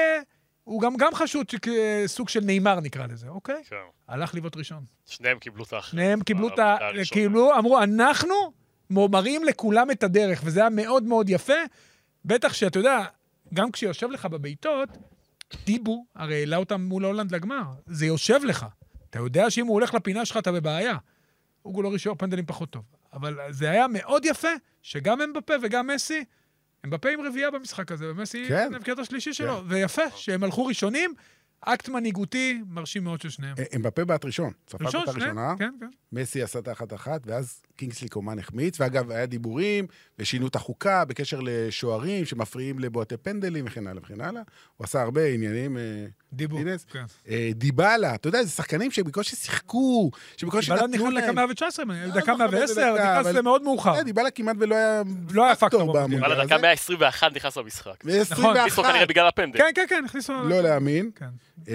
הוא גם, גם חשוד, שכ- סוג של נאמר נקרא לזה, אוקיי?
כן.
הלך לבעוט ראשון.
שניהם קיבלו את האחריות.
שניהם קיבלו את ה...
הראשונה.
קיבלו, אמרו, אנחנו מראים לכולם את הדרך, וזה היה מאוד מאוד יפה. בטח שאתה יודע, גם כשיושב לך בבעיטות, טיבו הרי העלה אותם מול הולנד לגמר. זה יושב לך. אתה יודע שאם הוא הולך לפינה שלך, אתה בבעיה. אוגו לא רישור פנדלים פחות טוב. אבל זה היה מאוד יפה, שגם אמבפה וגם מסי, אמבפה עם רביעייה במשחק הזה, ומסי
כן.
עם הבקיעות השלישי שלו. ויפה שהם הלכו ראשונים, אקט מנהיגותי מרשים מאוד של שניהם.
אמ, אמבפה בעט ראשון, ספג
ראשון,
אותה
שניהם,
ראשונה,
כן, כן.
מסי עשה את האחת-אחת, ואז קינגסלי קומן החמיץ, ואגב, היה דיבורים, ושינו את החוקה בקשר לשוערים שמפריעים לבועטי פנדלים וכן הלאה וכן הלאה. הוא עשה הרבה עניינים, אה,
דיבור,
אינס.
כן.
אה, דיבאלה, אתה יודע, זה שחקנים שבקושי שיחקו, שבקושי
דיבלה
נתנו
נכנס
להם.
דקה 119,
לא,
דקה
לא,
110,
בדקה,
נכנס
אבל-
למאוד מאוחר.
אה, דיבאלה כמעט ולא היה
לא היה פקטור
פקטור
במונדיאל.
במונדיאל
וואלה,
הזה.
דקה 121 נכנס למשחק.
נכון.
ניסו
ו-21,
כנראה בגלל הפנדל.
כן, כן, כן, הכניסו...
לא להאמין.
כן.
אה,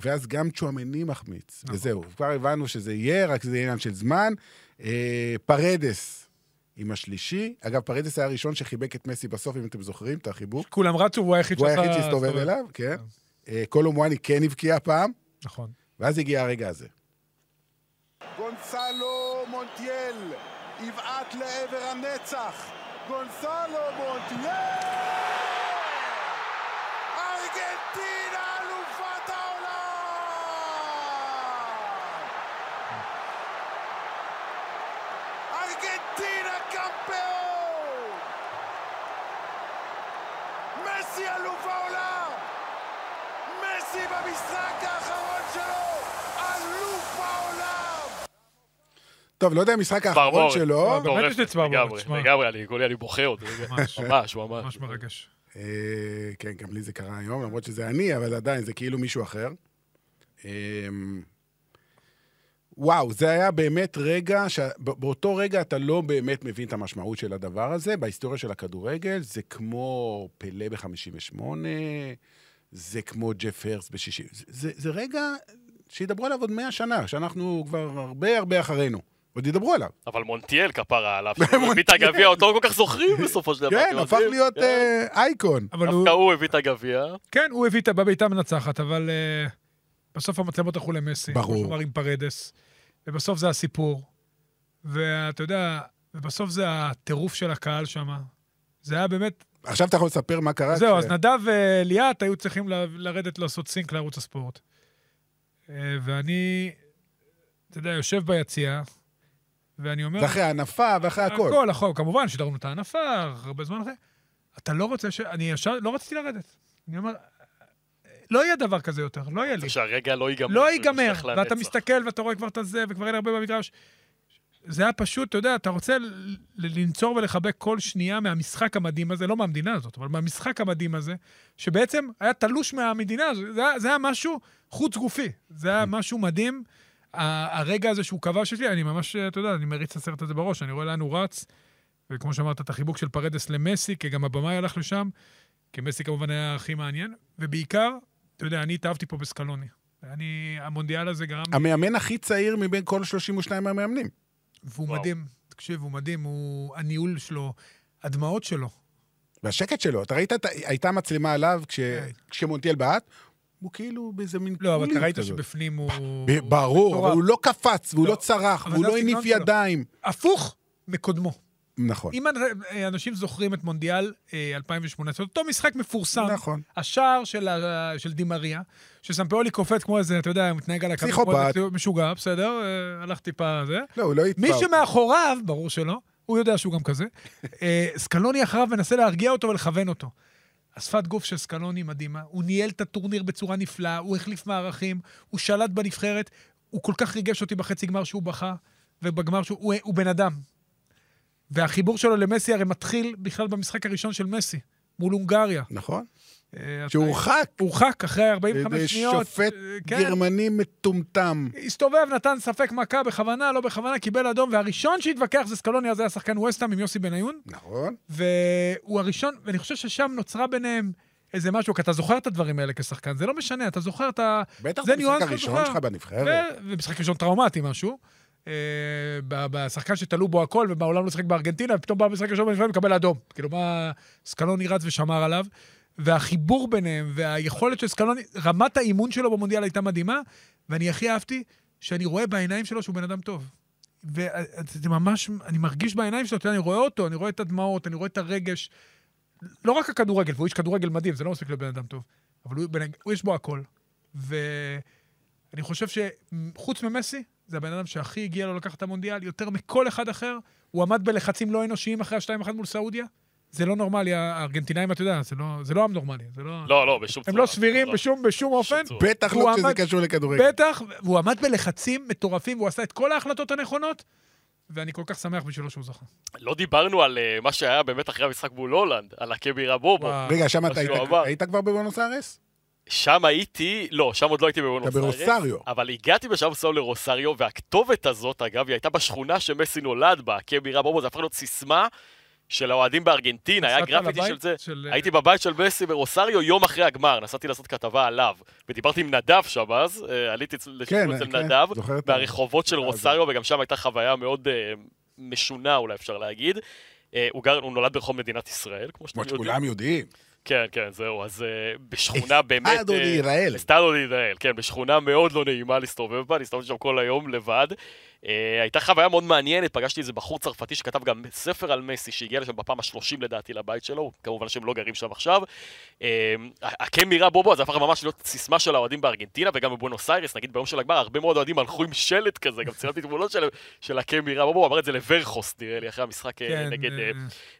ואז גם צ'ואמני מחמיץ, וזהו. כבר הבנו שזה יהיה, רק זה עניין של זמן. אה, פרדס עם השלישי. אגב, פרדס היה הראשון שחיבק את מסי בסוף, אם אתם זוכרים את החיבוק.
כולם רצו, הוא היחיד
הוא
שעשה...
היחיד שהסתובב אליו, כן. אה, קולומואני כן הבקיע פעם,
נכון.
ואז הגיע הרגע הזה.
גונסלו מונטיאל יבעט לעבר הנצח. גונסלו מונטיאל! ארגנטינה אלופת העולם! ארגנטינה קמפיון! מסי אלוף העולם! מסי במשחק האחרון שלו! אלוף העולם!
טוב, לא יודע המשחק האחרון
ברבורת.
שלו.
כן, באמת יש לי צוואר בורד,
לגמרי,
שמע.
לגמרי, אני- גולי, אני בוכה עוד. רגע.
(laughs) ממש.
ממש, ממש.
ממש מרגש.
אה, כן, גם לי זה קרה היום, למרות שזה אני, אבל עדיין, זה כאילו מישהו אחר. אה, וואו, זה היה באמת רגע, ש... באותו רגע אתה לא באמת מבין את המשמעות של הדבר הזה. בהיסטוריה של הכדורגל זה כמו פלא ב-58, זה כמו ג'ף הרס ב-60. זה, זה, זה רגע שידברו עליו עוד 100 שנה, שאנחנו כבר הרבה הרבה אחרינו. עוד ידברו עליו.
אבל מונטיאל
(laughs)
כפרה עליו, שהוא הביא את הגביע, אותו לא כל כך זוכרים בסופו של דבר.
כן,
אתם
הפך
יודעים?
להיות
כן.
אה, אייקון.
אבל הוא...
דווקא הוא הביא את הגביע.
כן, הוא הביא את הבעיטה המנצחת, אבל אה, בסוף המצלמות הלכו למסי.
ברור.
כמו שהוא אמר עם פרדס. ובסוף זה הסיפור. ואתה יודע, ובסוף זה הטירוף של הקהל שם. זה היה באמת...
עכשיו אתה יכול לספר מה קרה.
זהו,
כש-
אז נדב וליאת היו צריכים ל- לרדת לעשות סינק לערוץ הספורט. אה, ואני, אתה יודע, יושב ביציע, ואני אומר...
זה אחרי הענפה ואחרי הכל.
כן. הכל, הכל, כמובן, שידרנו את הענפה, הרבה זמן אחרי. אתה לא רוצה ש... אני ישר, לא רציתי לרדת. אני אומר, לא יהיה דבר כזה יותר, לא יהיה לי.
צריך שהרגע לא ייגמר.
לא
שהוא
ייגמר,
יימשך
ואתה
לנצח.
מסתכל ואתה רואה כבר את הזה, וכבר אין הרבה במגרש. זה היה פשוט, אתה יודע, אתה רוצה ל- לנצור ולחבק כל שנייה מהמשחק המדהים הזה, לא מהמדינה הזאת, אבל מהמשחק המדהים הזה, שבעצם היה תלוש מהמדינה הזאת, זה היה, זה היה משהו חוץ גופי, זה היה משהו מדהים. ה- הרגע הזה שהוא כבש שלי, אני ממש, אתה יודע, אני מריץ את הסרט הזה בראש, אני רואה לאן הוא רץ, וכמו שאמרת, את החיבוק של פרדס למסי, כי גם הבמאי הלך לשם, כי מסי כמובן היה הכי מעניין, ובעיקר, אתה יודע, אני התאהבתי פה בסקלוני. אני, המונדיאל הזה גרם לי,
המאמן הכי צעיר מבין כל 32 המאמנים.
והוא
וואו.
מדהים, תקשיב, הוא מדהים, הוא, הניהול שלו, הדמעות שלו.
והשקט שלו, אתה ראית, את ה- הייתה מצלמה עליו כש, כשמונטיאל בעט, הוא כאילו באיזה מין
כן. לא, אבל אתה
קוליות
ראית
כזאת.
שבפנים הוא...
ב- ברור,
מטורף.
אבל הוא לא קפץ, והוא לא,
לא,
צרח,
אבל
והוא
זה
לא הניף
הסגנון שלו.
ידיים.
הפוך מקודמו.
נכון,
אם אנ- אנשים זוכרים את מונדיאל אה, 2018, אותו משחק מפורסם,
נכון.
השער של, ה- של דימריה, שסמפאולי קופץ כמו איזה, אתה יודע, מתנהג על הקו, כמו
פסיכופת.
איזה משוגע, בסדר, אה, הלך טיפה זה.
לא, הוא לא יתפר.
מי שמאחוריו, ברור שלא, הוא יודע שהוא גם כזה, אה, סקלוני אחריו מנסה להרגיע אותו ולכוון אותו. השפת גוף של סקלוני מדהימה, הוא ניהל את הטורניר בצורה נפלאה, הוא החליף מערכים, הוא שלט בנבחרת, הוא כל כך ריגש אותי בחצי גמר שהוא בכה, ובגמר שהוא, הוא, הוא בן אדם. והחיבור שלו למסי הרי מתחיל בכלל במשחק הראשון של מסי, מול הונגריה.
נכון.
אה,
שהורחק
הורחק אחרי 45
ידי
שניות.
שופט
אה, כן.
גרמני מטומטם.
הסתובב, נתן ספק מכה בכוונה, לא בכוונה, קיבל אדום, והראשון שהתווכח זה סקלוני, אז היה שחקן ווסטהאם עם יוסי בניון,
נכון.
והוא הראשון, ואני חושב ששם נוצרה ביניהם איזה משהו, כי אתה זוכר את הדברים האלה כשחקן, זה לא משנה, אתה זוכר את ה...
בטח
זה
במשחק
ניואנס כן. שאתה
הראשון
זוכר.
שלך בנבחרת.
ו- ומשחק ראשון טראומטי משהו. אה, ב- בשחקן שתלו בו הכל, ובעולם לא שיחק בארגנטינה, ופתאום בא במשחק ראשון בנבחרת ומקבל אדום. כאילו, מה... סקלוני רץ ושמר עליו. והחיבור ביניהם, והיכולת של סקלוני, רמת האימון שלו במונדיאל הייתה מדהימה, ואני הכי אהבתי שאני רואה בעיניים שלו שהוא בן אדם טוב. וזה ממש, אני מרגיש בעיניים שלו, אתה יודע, אני רואה אותו, אני רואה את הדמעות, אני רואה את הרגש. לא רק הכדורגל, והוא איש כדורגל מדהים, זה לא מספיק לבן אדם טוב, אבל הוא, בן- הוא יש בו הכל. ואני חושב שחוץ ממסי, זה הבן אדם שהכי הגיע לו לקחת את המונדיאל, יותר מכל אחד אחר. הוא עמד בלחצים לא אנושיים אחרי השתיים אחת מול סעודיה. זה לא נורמלי, הארגנטינאים, אתה יודע, זה לא, זה לא עם נורמלי, זה לא...
לא, לא, בשום צורה.
הם לא סבירים
לא.
בשום, בשום אופן.
צורה.
בטח
הוא
לא כשזה
עמד-
קשור לכדורגל.
בטח, והוא עמד בלחצים מטורפים, והוא עשה את כל ההחלטות הנכונות, ואני כל כך שמח בשבילו שהוא זכה.
לא דיברנו על אה, מה שהיה באמת אחרי המשחק מול הולנד, על הקבירה בובו.
וואו.
רגע, שם אתה
אז
היית-
שהוא עבר.
היית כבר בבואנוס איירס?
שם הייתי, לא, שם עוד לא הייתי בבואנוס
אתה ברוסריו.
אבל הגעתי בשלב מסוים לרוסריו, והכתובת הזאת, אגב, היא הייתה בשכונה שמסי נולד בה, קבירה בובו, זה הפך להיות סיסמה של האוהדים בארגנטינה, היה
נסעת
גרפיטי של
לבית
זה.
של-
הייתי בבית של מסי ברוסריו יום אחרי הגמר, נסעתי לעשות כתבה עליו, ודיברתי עם נדב שם אז, אה, עליתי אצל-
כן,
לשידור אצל
כן,
נדב,
זוכר את ה-
מהרחובות של
אה,
רוסריו, וגם שם הייתה חוויה מאוד אה, משונה, אולי אפשר להגיד. אה, הוא גר- הוא נולד ברחוב מדינת ישראל, כמו שאתם
כמו
יודעים.
שכולם יודעים.
כן, כן, זהו, אז אה, בשכונה באמת...
אסטדו
אה,
להירעל.
אסטדו להירעל, כן, בשכונה מאוד לא נעימה להסתובב בה, אני הסתובבתי שם כל היום לבד. אה, הייתה חוויה מאוד מעניינת, פגשתי איזה בחור צרפתי שכתב גם ספר על מסי, שהגיע לשם בפעם השלושים לדעתי לבית שלו, כמובן שהם לא גרים שם עכשיו. אה, הקמירה בובו, זה הפך ממש להיות סיסמה של האוהדים בארגנטינה, וגם בבואנוס איירס, נגיד ביום של הגמר, הרבה מאוד אוהדים הלכו עם שלט כזה, גם צילמתי תמונות של- של הקמירה בובו, הוא אמר את זה לברחוס, נראה לי, אחרי המשחק אה,
כן,
נגד...
אה,
אה,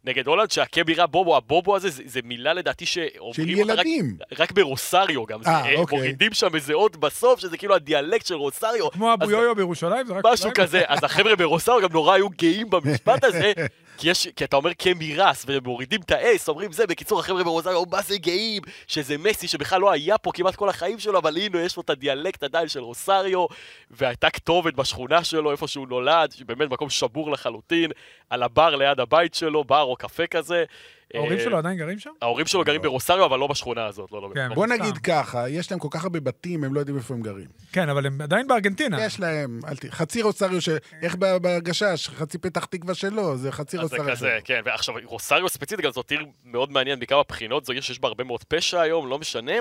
נגד הולנד, שהקבירה בובו, הבובו הזה, זה, זה מילה לדעתי שאומרים
של
אותה רק,
ילדים.
רק ברוסריו גם, זה,
אה,
אה,
אוקיי.
מורידים שם איזה אות בסוף, שזה כאילו הדיאלקט של רוסריו.
כמו
אז
אבו יויו בירושלים, זה רק...
משהו
אולי-
כזה, אז החבר'ה ברוסריו גם נורא היו גאים במשפט הזה, כי, יש, כי אתה אומר קמירס, ומורידים את האס, אומרים זה, בקיצור החבר'ה ברוסריו, מה זה גאים, שזה מסי שבכלל לא היה פה כמעט כל החיים שלו, אבל הנה יש לו את הדיאלקט עדיין של רוסריו, והייתה כתובת בשכונה שלו, איפה שהוא נולד, שבאמת מקום שבור לחלוטין, על הבר ליד הבית שלו, בר או קפה כזה.
ההורים
אה,
שלו עדיין גרים שם?
ההורים שלו גרים ברוסריו, אבל לא בשכונה הזאת, לא, לא.
כן.
לא.
בוא
סתם.
נגיד ככה, יש להם כל כך הרבה בתים, הם לא יודעים איפה הם גרים.
כן, אבל הם עדיין בארגנטינה.
יש להם, אל ת... חצי רוסריו של... איך ב- בהגשש? חצי פתח תקווה שלו, זה חצי
אז זה
רוסריו שלו.
כזה, כן, ועכשיו, רוסריו ספציפית, גם זאת עיר מאוד מעניינת מכמה בחינות, זו עיר שיש בה הרבה מאוד פשע היום, לא משנה,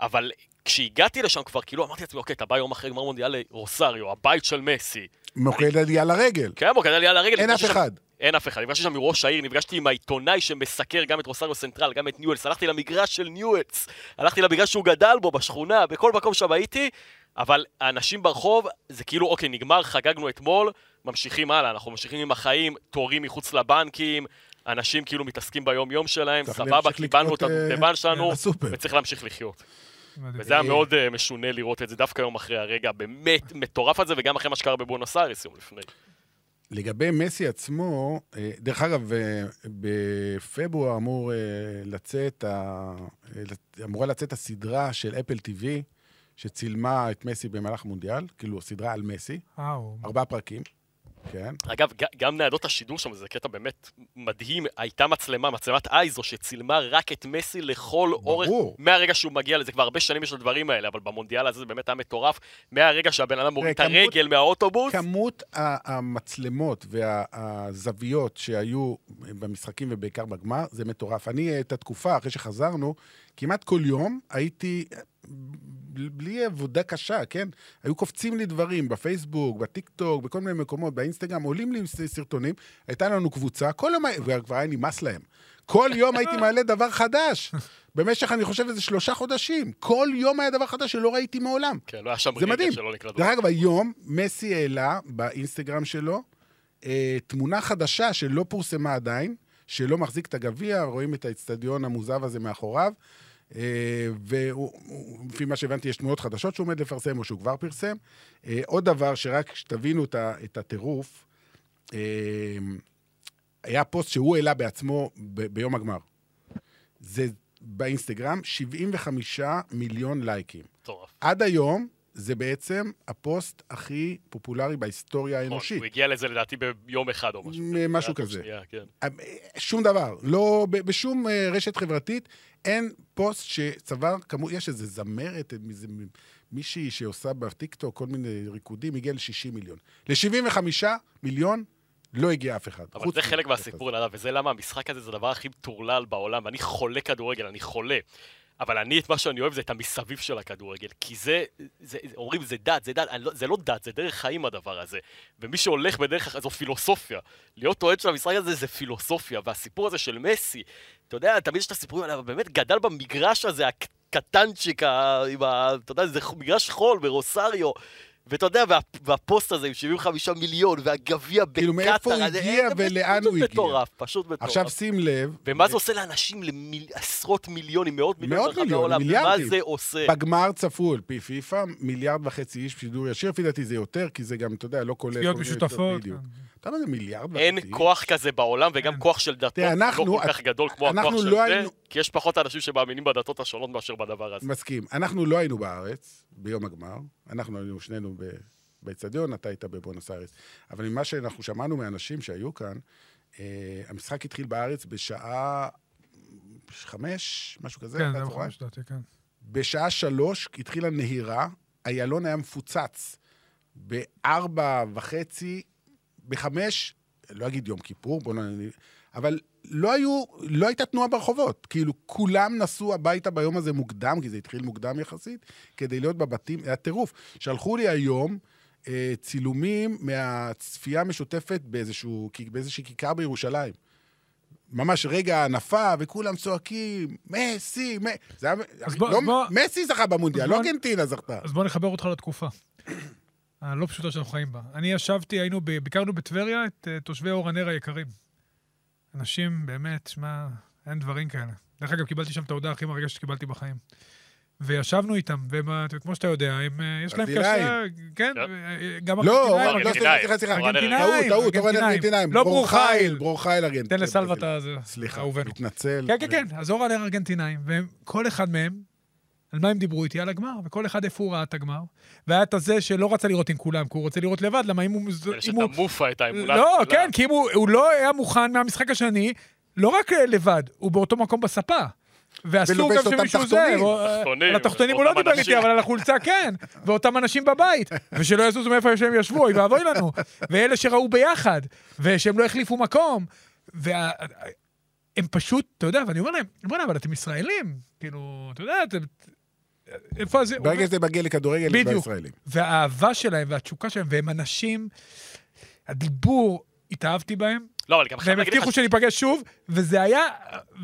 אבל כשהגעתי לשם כבר, כאילו, אמרתי לעצמי, אוקיי, אתה בא יום אחרי גמר מונדיאל לרוסריו, הבית של מסי.
מוקד עלייה לרגל.
כן, בוא, כדאי לי על הרגל.
אין
נפגשתי
אף
שם-
אחד.
אין אף אחד. נפגשתי שם עם ראש העיר, נפגשתי עם העיתונאי שמסקר גם את רוסריו סנטרל, גם את ניואלס. הלכתי למגרש של ניואלס, הלכתי למגרש שהוא גדל בו, בשכונה, בכל מקום שם הייתי, אבל האנשים ברחוב, זה כאילו, אוקיי, נגמר, חגגנו אתמול, ממשיכים הלאה, אנחנו ממשיכים עם החיים, תורים מחוץ לבנקים, אנשים כאילו מתעסקים ביום-יום שלהם,
צריך
סבבה,
להמשיך
קיבלנו את
לקנות, אה,
הדובדבן שלנו,
בסופר.
וצריך להמשיך לחיות.
מדהים.
וזה היה מאוד אה, משונה לראות את זה דווקא יום אחרי הרגע הבאמת מטורף הזה, וגם אחרי מה שקרה בבואנוס איירס יום לפני.
לגבי מסי עצמו, אה, דרך אגב, אה, בפברואר אמור אה, לצאת, ה- אה, לצ- אמורה לצאת הסדרה של אפל TV, שצילמה את מסי במהלך המונדיאל, כאילו, סדרה על מסי,
אה, הוא-
ארבעה פרקים, כן.
אגב, ג- גם ניידות השידור שם, זה קטע באמת מדהים, הייתה מצלמה, מצלמת אייזו, שצילמה רק את מסי לכל אורך, מהרגע שהוא מגיע לזה, כבר הרבה שנים יש לדברים האלה, אבל במונדיאל הזה זה באמת היה מטורף, מהרגע שהבן אדם מוריד את
כמות-
הרגל מהאוטובוס,
כמות ה- המצלמות והזוויות שהיו במשחקים ובעיקר בגמר, זה מטורף. אני, אה, את התקופה, אחרי שחזרנו, כמעט כל יום הייתי, אה, ב- בלי עבודה קשה, כן? היו קופצים לי דברים בפייסבוק, בטיק טוק, בכל מיני מקומות, באינסטגרם, עולים לי ס- סרטונים. הייתה לנו קבוצה, כל יום, היה- וכבר היה נמאס להם. כל יום הייתי מעלה דבר חדש. במשך, אני חושב, איזה שלושה חודשים. כל יום היה דבר חדש שלא ראיתי מעולם.
כן, לא היה שם
זה
רגל
מדהים.
שלא נקלט.
דרך אגב, היום מסי העלה באינסטגרם שלו אה, תמונה חדשה שלא פורסמה עדיין, שלא מחזיק את הגביע, רואים את האצטדיון המוזב הזה מאחוריו, אה, ולפי מה שהבנתי, יש תמונות חדשות שהוא עומד לפרסם, או שהוא כבר פרסם. אה, עוד דבר, שרק שתבינו את ה- את הטירוף, אה, היה פוסט שהוא העלה בעצמו ב- ביום הגמר. זה באינסטגרם 75 מיליון לייקים.
מטורף.
עד היום זה בעצם הפוסט הכי פופולרי בהיסטוריה
נכון,
האנושית.
הוא הגיע לזה לדעתי ביום אחד או משהו.
מ-
כזה.
משהו
זה היה
כזה.
תוך שנייה, כן.
אמ, שום דבר, לא, ב- בשום אה, רשת חברתית אין פוסט שצבר כמות, יש איזה זמרת, איזה מ- מישהי שעושה בטיקטוק כל מיני ריקודים, הגיע ל-60 מיליון. ל-75 מיליון לא הגיע אף אחד.
אבל
חוץ כן,
זה חלק
מהטיקטוק
מהסיפור, נדב, וזה למה המשחק הזה זה הדבר הכי מטורלל בעולם, ואני חולה כדורגל, אני חולה. אבל אני, את מה שאני אוהב זה את המסביב של הכדורגל, כי זה, זה, זה אומרים, זה דת, זה דת, אני לא, זה לא דת, זה דרך חיים הדבר הזה. ומי שהולך בדרך אחרת, זו פילוסופיה. להיות אוהד של המשחק הזה זה פילוסופיה, והסיפור הזה של מסי, אתה יודע, תמיד יש את הסיפורים האלה, אבל באמת גדל במגרש הזה, הקטנצ'יק, ה- עם ה... אתה יודע, זה ח- מגרש חול ברוסריו. ואתה יודע, וה, והפוסט הזה עם 75 מיליון, והגביע בקטאר,
כאילו, מאיפה הוא
זה-
הגיע
זה
ולאן הוא הגיע.
פשוט מטורף, פשוט מטורף.
עכשיו שים לב,
ומה זה עושה לאנשים, לעשרות מיליונים, מאות מיליונים
מאות מיליונים, מיליארדים.
מה זה עושה?
בגמר צפו על פי פיפ"א, מיליארד וחצי איש בשידור ישיר, לפי דעתי זה יותר, כי זה גם, אתה יודע, לא כולל...
צפיות
כל מיני-
משותפות. כן.
בדיוק. אתה יודע מה זה מיליארד וחצי?
אין כוח כזה בעולם, וגם כוח של דתות
כן. תראה, אנחנו-
לא כל כך
את-
גדול כמו הכוח
אנחנו
של
לא
זה,
היינו-
כי יש פחות אנשים שמאמינים בדתות השונות מאשר בדבר הזה.
מסכים. אנחנו לא היינו בארץ ביום הגמר, אנחנו היינו שנינו ב- באצטדיון, אתה היית בבואנוס איירס. אבל ממה שאנחנו שמענו מאנשים שהיו כאן, אה, המשחק התחיל בארץ בשעה חמש, משהו כזה,
כן,
אחרי
זה
הצהריים.
מחמש דעתי, כן.
בשעה שלוש התחילה נהירה, איילון היה מפוצץ. בארבע וחצי, בחמש, לא אגיד יום כיפור, בוא נ... אבל לא היו, לא הייתה תנועה ברחובות. כאילו, כולם נסעו הביתה ביום הזה מוקדם, כי זה התחיל מוקדם יחסית, כדי להיות בבתים, היה טירוף. שלחו לי היום אה, צילומים מהצפייה המשותפת באיזשהו, באיזושהי כיכר בירושלים. ממש רגע ההנפה, וכולם צועקים, מסי, מ... זה היה...
אז בוא-
לא,
אז בוא-
מסי זכה במונדיאל,
אז
לא
בוא-
ארגנטינה זכתה.
אז בוא נחבר אותך לתקופה. (clears throat) הלא פשוטה שאנחנו חיים בה. אני ישבתי, היינו, ב- ביקרנו בטבריה את אה, תושבי אור הנר היקרים. אנשים, באמת, שמע, אין דברים כאלה. דרך אגב, קיבלתי שם את ההודעה הכי מרגשת שקיבלתי בחיים. וישבנו איתם, וכמו שאתה יודע, הם, אה, יש להם קשה...
ברזילאים.
כן,
כן.
אה, גם
לא,
ארגנטינאים,
אורן, לא,
אבל-
סליחה, סליחה, סליחה.
ארגנטינאים,
טעות, טעות, אורן
ארגנטינאים.
ארגנטינאים.
לא
ברור
ברורחיל.
חיל, ברור חיל ארגנטינאים.
תן לסלווה את הזה.
סליחה,
אהובנו.
מתנצל.
כן, כן, כן, אז אור עליה ארגנטינאים, וכל אחד מהם, על מה הם דיברו איתי? על הגמר, וכל אחד איפה הוא ראה את הגמר. והיה את הזה שלא רצה לראות עם כולם, כי הוא רוצה לראות לבד, למה אם הוא...
יש
אם
את
הוא-
המופה, את האמונה.
לא,
הגדולה.
כן, כי אם הוא הוא לא היה מוכן מהמשחק השני, לא רק אה, לבד, הוא באותו מקום בספה. ואסור
ולובש
גם
אותם
שמישהו זה,
תחתונים.
הוא- אה,
תחתונים,
על התחתונים הוא לא
ואותם
דיבר איתי,
אנשים.
אבל על החולצה כן, ואותם אנשים בבית, ושלא יזוזו מאיפה שהם ישבו, אוי ואבוי לנו, ואלה שראו ביחד, ושהם לא החליפו מקום, והם פשוט, אתה יודע, ואני אומר להם, בוא'נה, אבל אתם ישראלים, כאילו, אתה יודע, אתם... איפה זה...
ברגע שזה מגיע לכדורגל,
בדיוק.
בדיוק. ישראלים.
והאהבה שלהם והתשוקה שלהם, והם אנשים, הדיבור, התאהבתי בהם,
לא, אבל גם חייב
והם
להגיד לך
הבטיחו שניפגש שוב, וזה היה,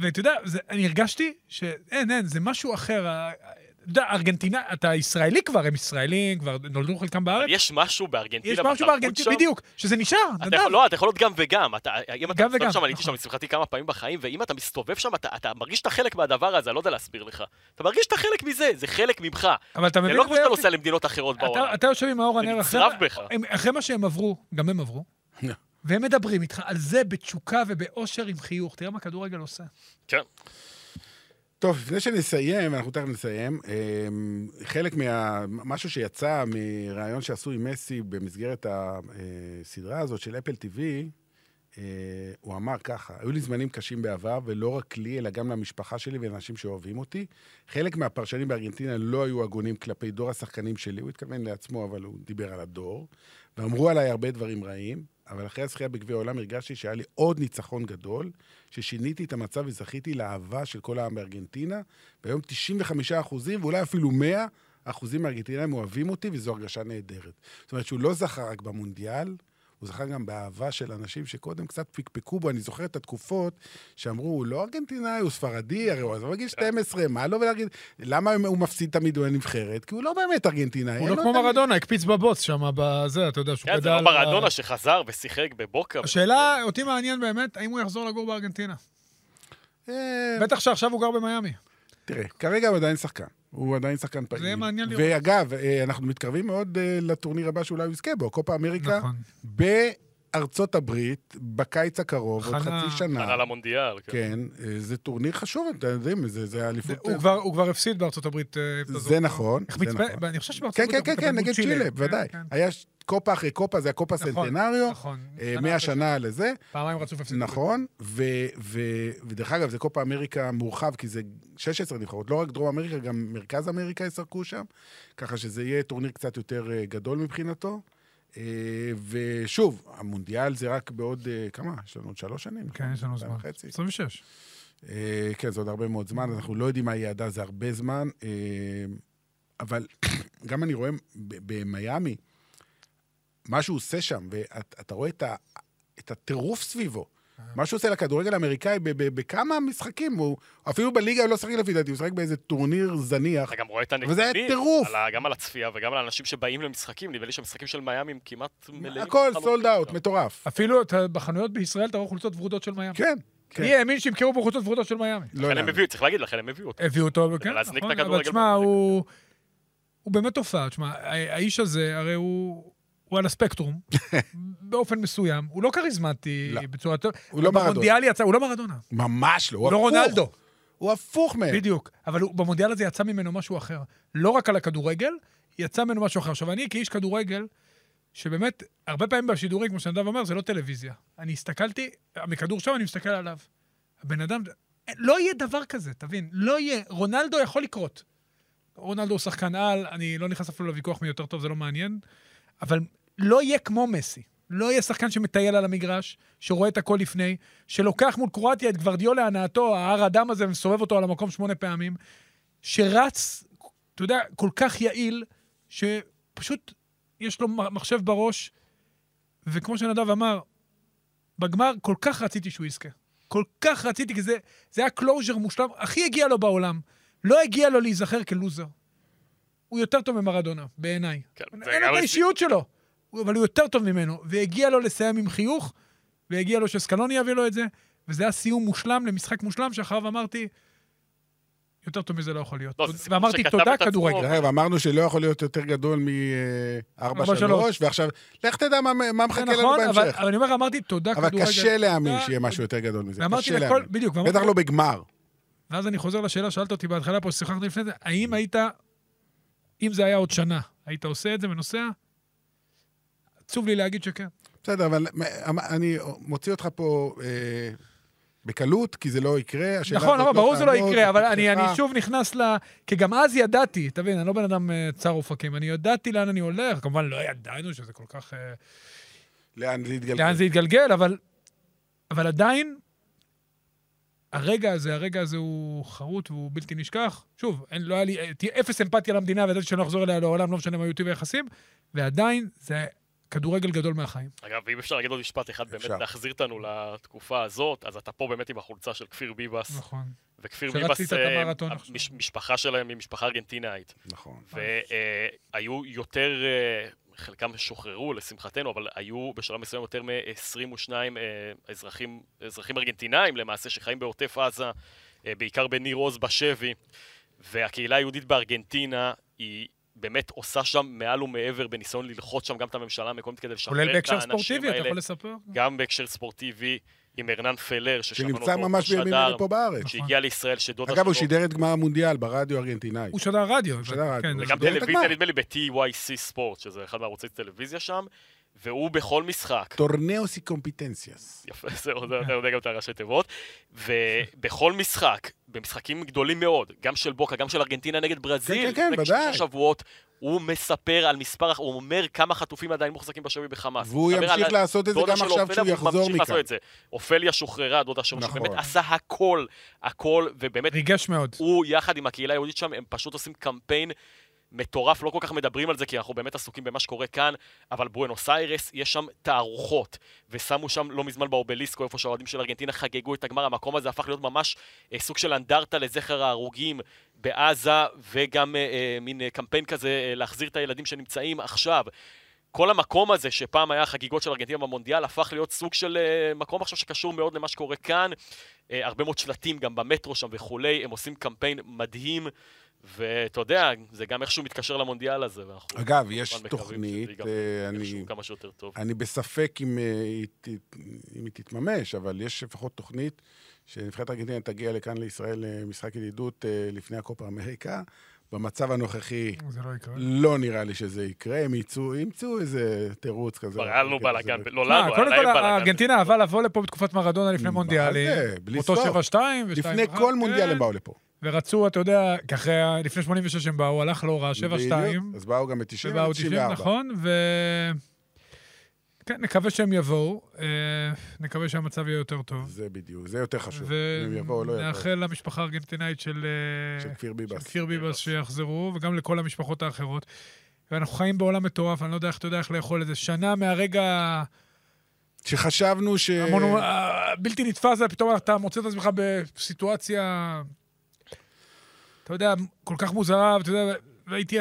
ואתה יודע, זה- אני הרגשתי שאין, אין, זה משהו אחר. ה- אתה יודע, ארגנטינה, אתה ישראלי כבר, הם ישראלים, כבר נולדו חלקם בארץ.
יש משהו בארגנטינה,
יש משהו
בתרבות שם,
בארגנטינה, בדיוק, שזה נשאר,
אתה
נדב.
יכול, לא, אתה יכול להיות גם וגם. אתה, אם אתה
גם
מסתובב
וגם,
שם, אני הייתי
נכון.
שם לשמחתי כמה פעמים בחיים, ואם אתה מסתובב שם, אתה, אתה מרגיש שאתה חלק מהדבר הזה, אני לא יודע להסביר לך. אתה מרגיש שאתה חלק מזה, זה חלק ממך.
אבל אתה
זה
מבין,
לא כמו שאתה
יופי?
נוסע למדינות אחרות
אתה,
בעולם.
אתה יושב עם האור הנר אחרי,
נצרב בך.
הם- אחרי מה שהם עברו, גם הם עברו, והם מדברים איתך על זה בתשוקה ובאושר עם חיוך. תראה מה כדורגל עושה.
כן.
טוב, לפני שנסיים, אנחנו תכף נסיים, אמ, חלק מה... משהו שיצא מראיון שעשו עם מסי במסגרת הסדרה הזאת של אפל TV, אה, הוא אמר ככה, היו לי זמנים קשים בעבר, ולא רק לי, אלא גם למשפחה שלי ולאנשים שאוהבים אותי. חלק מהפרשנים בארגנטינה לא היו הגונים כלפי דור השחקנים שלי, הוא התכוון לעצמו, אבל הוא דיבר על הדור, ואמרו עליי הרבה דברים רעים, אבל אחרי הזכייה בגביע העולם הרגשתי שהיה לי עוד ניצחון גדול, ששיניתי את המצב וזכיתי לאהבה של כל העם בארגנטינה, והיום 95 אחוזים, ואולי אפילו 100 אחוזים מהארגנטינאים אוהבים אותי, וזו הרגשה נהדרת. זאת אומרת שהוא לא זכה רק במונדיאל, הוא זכה גם באהבה של אנשים שקודם קצת פקפקו בו. אני זוכר את התקופות שאמרו, הוא לא ארגנטינאי, הוא ספרדי, הרי הוא עזב בגיל 12, מה לא ולהגיד... למה הוא מפסיד תמיד בנבחרת? כי הוא לא באמת ארגנטינאי.
הוא
אין
לא
לו
כמו
את ה-
מרדונה, הקפיץ בבוץ שם, בזה, אתה יודע, שהוא
כן,
גדל...
זה לא
על-
מרדונה שחזר ושיחק בבוקה.
השאלה, אותי מעניין באמת, האם הוא יחזור לגור בארגנטינה.
כן. אה,
בטח שעכשיו הוא גר במיאמי.
תראה, כרגע הוא עדיין שחקן. הוא עדיין שחקן פעיל.
יהיה מעניין לראות.
ואגב, אה, אנחנו מתקרבים מאוד אה, לטורניר הבא שאולי הוא יזכה בו, קופה אמריקה.
נכון.
ב... ארצות הברית בקיץ הקרוב, עוד
הכנה-
חצי שנה.
עלה למונדיאל. כן.
כן, אה, זה טורניר חשוב, אתם יודעים, זה- זה אליפות...
הוא כבר- הוא כבר הפסיד בארצות הברית. אה, אם אתה
זה
זוכר.
נכון,
איך
זה
מתבא-
נכון.
אני חושב שבארצות
כן,
הברית...
כן, כן,
אנחנו
כן,
מול
נגד צ'ילה, בוודאי.
כן, כן.
היה ש- קופה אחרי קופה, זה הקופה
נכון,
סנטנריו,
נכון.
אה,
שנה
מאה
אחרי
שנה לזה.
פעמיים רצוף הפסידו.
נכון, ו- ו- ודרך אגב, זה קופה אמריקה מורחב, כי זה 16 נבחרות, לא רק דרום אמריקה, גם מרכז אמריקה ישחקו שם, ככה שזה יהיה טורניר קצת יותר אה, גדול מבחינתו. אה, ושוב, המונדיאל זה רק בעוד, אה, כמה? יש לנו עוד שלוש שנים.
כן, יש לנו
שתיים
זמן.
וחצי.
26.
אה, כן, זה עוד הרבה מאוד זמן, אנחנו לא יודעים מה יהיה עד אז, זה הרבה זמן. אה, אבל (clears throat) גם אני רואה ב- במיאמי, מה שהוא עושה שם, ואתה ואת, רואה את, ה, את הטירוף סביבו.
אה.
מה שהוא עושה לכדורגל האמריקאי ב- ב- בכמה משחקים, הוא אפילו בליגה הוא לא שחק לפי דעתי, הוא שחק באיזה טורניר זניח.
אתה גם רואה את הנתונים.
וזה היה טירוף.
על ה- גם על הצפייה וגם על האנשים שבאים למשחקים, נדמה לי שהמשחקים של מיאמי הם כמעט מלאים.
הכל
לחלוטין
סולד אאוט,
שם.
מטורף.
אפילו את ה- בחנויות בישראל אתה רואה חולצות ורודות של מיאמי.
כן,
מי
כן.
האמין שימכרו פה חולצות ורודות של מיאמי?
לא
לכן
יודע.
כן, הם הביאו, צריך להגיד, לכן הם הביאו אותו.
הביאו אותו, כן,
להזניק
נכון,
את הכדורגל
אבל תשמע,
באופן
הוא... הוא באמת תופעה, תשמע, ה- האיש הזה, הרי הוא... הוא על הספקטרום, באופן מסוים, הוא לא כריזמטי
לא.
בצורה טובה.
הוא לא מרדונה.
במונדיאל יצא, הוא לא מרדונה,
ממש לא, הוא
הוא לא
הפוך.
רונלדו,
הוא הפוך מהם.
בדיוק. אבל הוא- במונדיאל הזה יצא ממנו משהו אחר. לא רק על הכדורגל, יצא ממנו משהו אחר. עכשיו, אני כאיש כדורגל, שבאמת, הרבה פעמים בשידורים, כמו שנדב אומר, זה לא טלוויזיה. אני הסתכלתי, מכדור שם אני מסתכל עליו. הבן אדם, לא יהיה דבר כזה, תבין. לא יהיה. רונלדו יכול לקרות. רונלדו הוא שחקן על, אני לא נכנס אפילו לוויכוח מי יותר טוב, זה לא מעניין, אבל לא יהיה כמו מסי. לא יהיה שחקן שמטייל על המגרש, שרואה את הכל לפני, שלוקח מול קרואטיה את גוורדיולה להנאתו, ההר אדם הזה, ומסובב אותו על המקום שמונה פעמים, שרץ, אתה יודע, כל כך יעיל, שפשוט יש לו מ- מחשב בראש, וכמו שנדב אמר, בגמר כל כך רציתי שהוא יזכה. כל כך רציתי, כי זה, זה היה קלוז'ר מושלם, הכי הגיע לו בעולם. לא הגיע לו להיזכר כלוזר. הוא יותר טוב ממרדונה, בעיניי.
כן, זה
אין
גם
לו את
לפי-
האישיות שלו, הוא- אבל הוא יותר טוב ממנו. והגיע לו לסיים עם חיוך, והגיע לו שסקלוני יביא לו את זה, וזה היה סיום מושלם למשחק מושלם, שאחריו אמרתי, יותר טוב מזה לא יכול להיות.
לא, זה סיפור
ואמרתי,
שכתב
תודה,
את עצמו.
כדורגל.
דרך אגב, אמרנו שלא יכול להיות יותר גדול
לא, ארבע,
מ-4-3,
שלוש.
ועכשיו, לך תדע מה- מה מחכה
זה
לנו
נכון, אבל,
בהמשך.
אבל אני אומר, אמרתי, תודה,
אבל
כדורגל.
קשה להאמין
תודה,
שיהיה משהו יותר גדול מזה.
ואמרתי
קשה
לכל-
להאמין.
בדיוק, ואמרתי-
בטח לא בגמר.
ואז אני חוזר לשאלה, שאלת אותי בהתחלה פה, ששיחקנו לפני זה, האם היית, אם זה היה עוד שנה, היית עושה את זה ונוסע? עצוב לי להגיד שכן.
בסדר, אבל אמ- אני מוציא אותך פה אה, בקלות, כי זה לא יקרה. השאלה
נכון,
הזאת
לא, ברור זה לא
תעמוד,
יקרה, אבל אני
תפתחה.
אני שוב נכנס ל... כי גם אז ידעתי, תבין, אני לא בן אדם אה, צר אופקים, אני ידעתי לאן אני הולך, כמובן לא ידענו שזה כל כך... אה,
לאן זה יתגלגל?
לאן זה יתגלגל, אבל, אבל עדיין, הרגע הזה, הרגע הזה הוא חרוט והוא בלתי נשכח. שוב, אין, לא היה לי, אה, תהיה אפס אמפתיה למדינה, וידעתי שאני לא אחזור אליה לעולם, לא משנה מה יהיו איתי ביחסים, ועדיין זה כדורגל גדול מהחיים.
אגב, ואם אפשר להגיד עוד משפט אחד, באמת
אפשר.
להחזיר אותנו לתקופה הזאת, אז אתה פה באמת עם החולצה של כפיר ביבס.
נכון.
וכפיר
שרצית את
ביבס, אה,
המרתון
המש-
עכשיו.
משפחה שלהם היא משפחה ארגנטינאית.
נכון.
אוקיי.
והיו אה, יותר, אה, חלקם שוחררו לשמחתנו, אבל היו בשלב מסוים יותר מ-22 אזרחים, אזרחים ארגנטינאים למעשה, שחיים בעוטף עזה, אה, בעיקר בניר עוז בשבי, והקהילה היהודית בארגנטינה היא... באמת עושה שם מעל ומעבר בניסיון ללחוץ שם גם את הממשלה המקומית כדי לשחרר את
כולל בהקשר
האנשים האלה.
ספורטיבי, אתה יכול לספר?
גם בהקשר ספורטיבי עם ארנן פלר, ששמענו אותו,
שנמצא ממש
שדר,
בימים אלה פה בארץ.
שהגיע לישראל, שדודה
אגב, הוא
שלו-
שידר את גמר המונדיאל ברדיו הארגנטינאי.
הוא שדר רדיו.
שדר רדיו.
כן,
וגם
שידר את
טלוויזיה,
הגמר.
נדמה לי, ב-TYC ספורט, שזה אחד מערוצי הטלוויזיה שם, והוא בכל משחק.
טורנאוסי קומפיטנציאס.
יפה, (laughs) זהו, זה- אתה יודע גם את הראשי תיבות. ובכל משחק, במשחקים גדולים מאוד, גם של בוקה, גם של ארגנטינה נגד ברזיל,
כן, כן,
לפני
ודאי.
שלושה שבועות, הוא מספר על מספר, הוא אומר כמה חטופים עדיין מוחזקים בשבי בחמאס.
והוא
מדבר על
ימשיך לעשות את זה
דודה
גם
שלו,
עכשיו
אופליה,
כשהוא
והוא
יחזור
ממשיך
מכאן.
לעשות את זה. אופליה שוחררה, דודה שלו,
נכון.
שבאמת עשה הכל, הכל, ובאמת
ריגש מאוד.
הוא יחד עם הקהילה היהודית שם, הם פשוט עושים קמפיין מטורף, לא כל כך מדברים על זה, כי אנחנו באמת עסוקים במה שקורה כאן, אבל בואנוס איירס, יש שם תערוכות, ושמו שם לא מזמן באובליסקו, איפה שהאוהדים של ארגנטינה חגגו את הגמר, המקום הזה הפך להיות ממש אה, סוג של אנדרטה לזכר ההרוגים בעזה, וגם אה, אה, מין אה, קמפיין כזה אה, להחזיר את הילדים שנמצאים עכשיו. כל המקום הזה שפעם היה חגיגות של ארגנטינה במונדיאל הפך להיות סוג של אה, מקום עכשיו שקשור מאוד למה שקורה כאן. אה, הרבה מאוד שלטים גם במטרו שם וכולי, הם עושים קמפיין מדהים, ואתה יודע, זה גם איכשהו מתקשר למונדיאל הזה. ואנחנו
אגב,
כמובן
יש
מקווים
תוכנית,
שזה ייגמר
אה,
איכשהו
אני...
כמה שיותר טוב.
אני בספק אם, אה, היא ת- אם היא תתממש, אבל יש לפחות תוכנית שנבחרת ארגנטינה תגיע לכאן לישראל למשחק ידידות אה, לפני הקופה אמריקה. במצב הנוכחי
זה לא יקרה.
לא נראה לי שזה יקרה, הם ימצאו, ימצאו איזה תירוץ כזה.
כבר היה לנו
כזה.
בלאגן,
מה
לא
מה,
לנו, היה
קודם כל,
להם בלאגן.
ארגנטינה אהבה לבוא לפה בתקופת מרדונה לפני
זה?
מונדיאלים.
בלי
אותו
סוף.
7-2 ו-2-1.
לפני כל מונדיאל הם באו לפה.
כן. ורצו, אתה יודע, כי אחרי, ה- לפני 86 הם באו, הלך לא רע, 7-2,
בדיוק. אז באו גם ב-90
ובאו 90, נכון? ו... כן, נקווה שהם יבואו, אה, נקווה שהמצב יהיה יותר טוב.
זה בדיוק, זה יותר חשוב. אם הם יבואו או לא יבואו.
ונאחל למשפחה הארגנטינאית של אה,
של כפיר
של
ביבס.
כפיר ביבס שיחזרו, וגם לכל המשפחות האחרות. ואנחנו חיים בעולם מטורף, אני לא יודע איך אתה יודע איך לאכול את זה. שנה מהרגע
שחשבנו ש...
המונו- ה- הבלתי אה, נתפס, ופתאום אתה מוצא את עצמך בסיטואציה, אתה יודע, כל כך מוזרה, ואתה יודע, והייתי,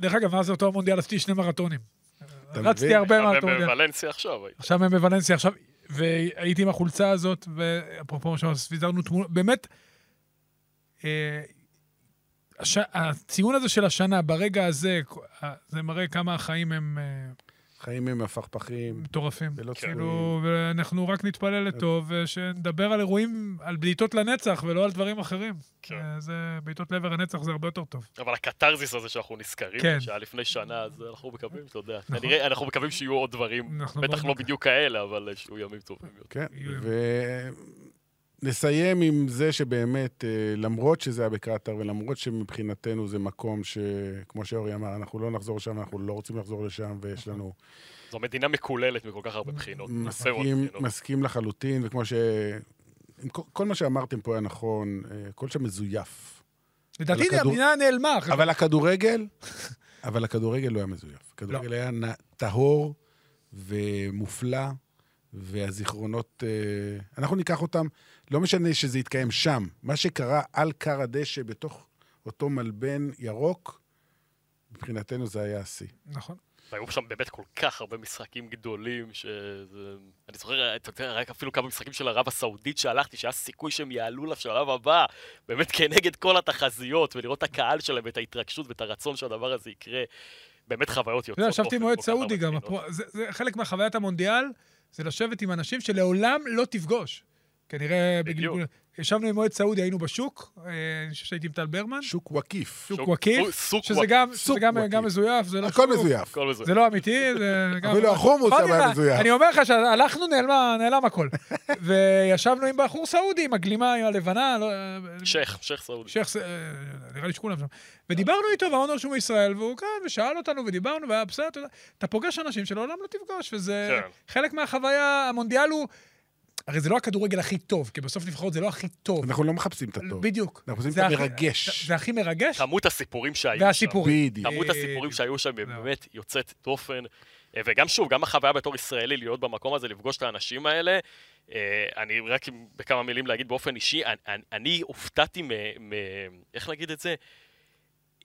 דרך אגב, מאז אותו המונדיאל עשיתי שני מרתונים.
אתה מבין?
רצתי הרבה
עכשיו הם
מרתונים.
בוולנסיה עכשיו,
עכשיו הם בוולנסיה, עכשיו, והייתי עם החולצה הזאת, ואפרופו מה שאמרתי, ויתרנו תמונות, באמת, אה, הש... הציון הזה של השנה, ברגע הזה, אה, זה מראה כמה החיים הם אה,
חיים עם הפכפכים.
מטורפים.
ולא
כאילו, ואנחנו רק נתפלל
כן.
לטוב, ושנדבר על אירועים, על בעיטות לנצח, ולא על דברים אחרים.
כן.
אה, זה, בעיטות לעבר הנצח זה הרבה יותר טוב.
אבל הקתרזיס הזה שאנחנו נזכרים,
כן. נכון.
שהיה לפני שנה, אז אנחנו מקווים, אתה יודע. כנראה, אנחנו מקווים שיהיו עוד דברים,
אנחנו מאוד
בטח לא
מקווים.
בדיוק כאלה, אבל אה, שיהיו ימים טובים יותר.
כן, ונסיים עם זה שבאמת, אה, למרות שזה היה בקטאר, ולמרות שמבחינתנו זה מקום שכמו שאורי אמר, אנחנו לא נחזור לשם, אנחנו לא רוצים לחזור לשם, ויש לנו...
זו מדינה מקוללת מכל כך הרבה בחינות. הרבה מאוד
מסכים,
בחינות.
מסכים לחלוטין, וכמו ש... עם כל- כל מה שאמרתם פה היה נכון, אה, הכל שם מזויף.
לדעתי
הכדור-
המדינה נעלמה. אחרי-
אבל הכדורגל, אבל הכדורגל לא היה מזויף. הכדורגל היה נ- טהור ומופלא, והזיכרונות, אה, אנחנו ניקח אותם, לא משנה שזה יתקיים שם. מה שקרה על כר הדשא בתוך אותו מלבן ירוק, מבחינתנו זה היה השיא.
נכון.
והיו שם באמת כל כך הרבה משחקים גדולים, שזה... אני זוכר, אתה יודע, רק אפילו כמה משחקים של ערב הסעודית שהלכתי, שהיה סיכוי שהם יעלו לשלב הבא, באמת כנגד כל התחזיות, ולראות את הקהל שלהם, ואת ההתרגשות ואת הרצון שהדבר הזה יקרה. באמת חוויות
אתה יודע,
יוצאות
לא, ישבתי עם
דופן,
מועד
כל כך הרבה
סעודי גם,
בחינות.
הפרו- זה- זה חלק מהחוויית המונדיאל, זה לשבת עם אנשים שלעולם לא תפגוש. כנראה
בדיוק.
בגלגול... ישבנו עם מועד סעודי, היינו בשוק, אה, אני חושב שהייתי עם טל ברמן,
שוק וקיף.
שוק
שוק-
וקיף,
סוק
שזה
וקיף.
גם-
סוק
שזה גם-
וקיף.
גם מזויף, זה לא
הכל
שוק,
מזויף.
כל זה.
זה לא אמיתי, זה גם... לא-
אפילו החומוס
אמרתי
היה
לך,
מזויף.
אני אומר לך שהלכנו, נעלמה- נעלם (laughs) הכל. וישבנו עם בחור סעודי, עם הגלימה, עם הלבנה, לא-
שייח, שייח סעודי.
שייח, ס- אה, נראה לי שכולם שם. ודיברנו איתו, ואמרנו שהוא מישראל, והוא כאן, ושאל אותנו, ודיברנו, והיה בסדר, אתה יודע, אתה פוגש אנשים שלעולם לא תפגוש, וזה
כן.
חלק מהחוויה, המונדיאל הוא... הרי זה לא הכדורגל הכי טוב, כי בסוף נבחרות זה לא הכי טוב. נכון.
אנחנו לא מחפשים את הטוב.
בדיוק.
אנחנו עושים
זה
את
הכי-
המרגש.
זה נכון. הכי מרגש,
כמות הסיפורים שהיו שם.
והסיפורים. אה.
בדיוק.
כמות הסיפורים שהיו שם היא באמת יוצאת דופן. אה, וגם שוב, גם החוויה בתור ישראלי להיות במקום הזה, לפגוש את האנשים האלה. אה, אני רק עם- בכמה מילים להגיד באופן אישי, אני- אני- אני הופתעתי מ... מ- איך להגיד את זה?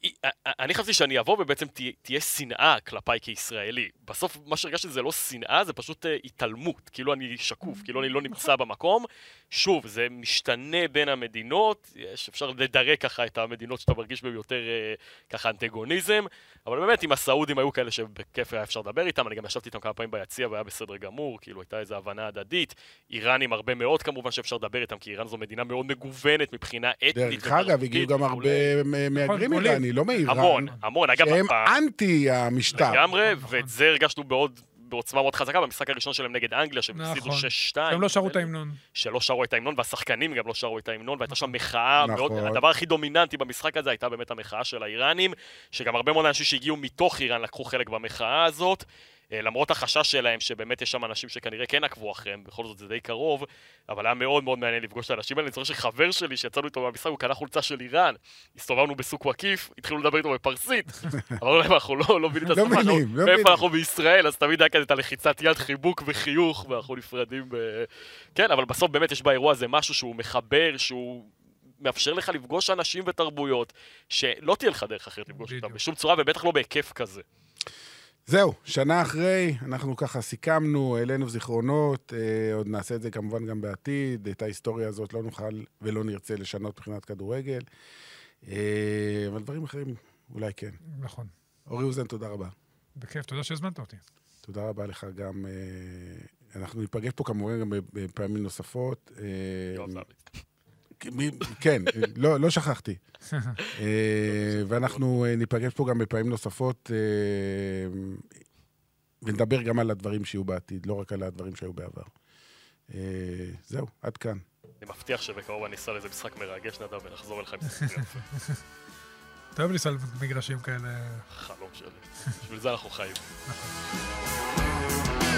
אי- א- א- אני חשבתי שאני אבוא ובעצם תה- תהיה שנאה כלפיי כישראלי. בסוף מה שהרגשתי זה לא שנאה, זה פשוט אה, התעלמות. כאילו אני שקוף,
אה,
כאילו אני לא
נכון.
נמצא במקום. שוב, זה משתנה בין המדינות, יש, אפשר לדרג ככה את המדינות שאתה מרגיש בהן יותר אה, ככה אנטגוניזם, אבל באמת עם הסעודים היו כאלה שבכיף היה אפשר לדבר איתם, אני גם ישבתי איתם כמה פעמים ביציע והיה בסדר גמור, כאילו הייתה איזו הבנה הדדית, איראנים הרבה מאוד כמובן שאפשר לדבר איתם, כי איראן זו מדינה מאוד מגוונת מבחינה אתנית.
דרך אגב,
ותרבותית
הגיעו גם
וכולי.
הרבה מ- מהגרים
עולים.
איראני, לא מאיראן.
המון, המון, אגב,
שהם
הפעם-
אנטי המשטר.
לגמרי,
נכון.
ואת זה הרגשנו בעוד... בעוצמה מאוד חזקה, במשחק הראשון שלהם נגד אנגליה, שהם הפסידו
נכון.
6-2.
הם לא שרו את ההמנון.
שלא שרו את ההמנון, והשחקנים גם לא שרו את ההמנון, והייתה שם מחאה,
נכון.
מאוד, הדבר הכי דומיננטי במשחק הזה הייתה באמת המחאה של האיראנים, שגם הרבה מאוד אנשים שהגיעו מתוך איראן לקחו חלק במחאה הזאת, אה, למרות החשש שלהם שבאמת יש שם אנשים שכנראה כן עקבו אחריהם, בכל זאת זה די קרוב, אבל היה מאוד מאוד מעניין לפגוש את האנשים האלה, אני זוכר שחבר שלי שיצאנו איתו מהמשחק, הוא קנה חולצה של איראן, הסתובבנו בסוק וקיף, התחילו לדבר איתו
(laughs)
בפרסית, אמרנו להם אנחנו לא לא מבינים את
לא
השפה, אנחנו-
מבינים, לא מבינים."
מאיפה אנחנו בישראל, אז תמיד היה כזה את הלחיצת יד, חיבוק וחיוך, ואנחנו נפרדים ב... כן, אבל בסוף באמת יש באירוע הזה משהו שהוא מחבר, שהוא מאפשר לך לפגוש אנשים ותרבויות, שלא תהיה לך דרך אחרת לפגוש אותם בשום צורה, ובטח לא בהיקף כזה.
זהו, שנה אחרי, אנחנו ככה סיכמנו, העלינו זיכרונות, אה, עוד נעשה את זה כמובן גם בעתיד, את ההיסטוריה הזאת לא נוכל ולא נרצה לשנות מבחינת כדורגל, אה, אבל דברים אחרים אולי כן.
נכון.
אורי אוזן, תודה רבה.
בכיף, תודה שהזמנת אותי. (laughs)
תודה רבה לך גם. אה, אנחנו ניפגש פה כמובן גם בפעמים נוספות. אה,
יואב זבלי.
מי- כן, לא, לא שכחתי. אה, ואנחנו אה, ניפגש פה גם בפעמים נוספות, אה, ונדבר גם על הדברים שיהיו בעתיד, לא רק על הדברים שהיו בעבר. אה, זהו, עד כאן.
אני מבטיח שבקרוב אני אסע לאיזה משחק מרגש נדב ונחזור אליך עם סיפור יפה. (laughs)
אתה אוהב לנסוע במגרשים כאלה
חלום שלי. בשביל זה אנחנו חיים.
Meshradio.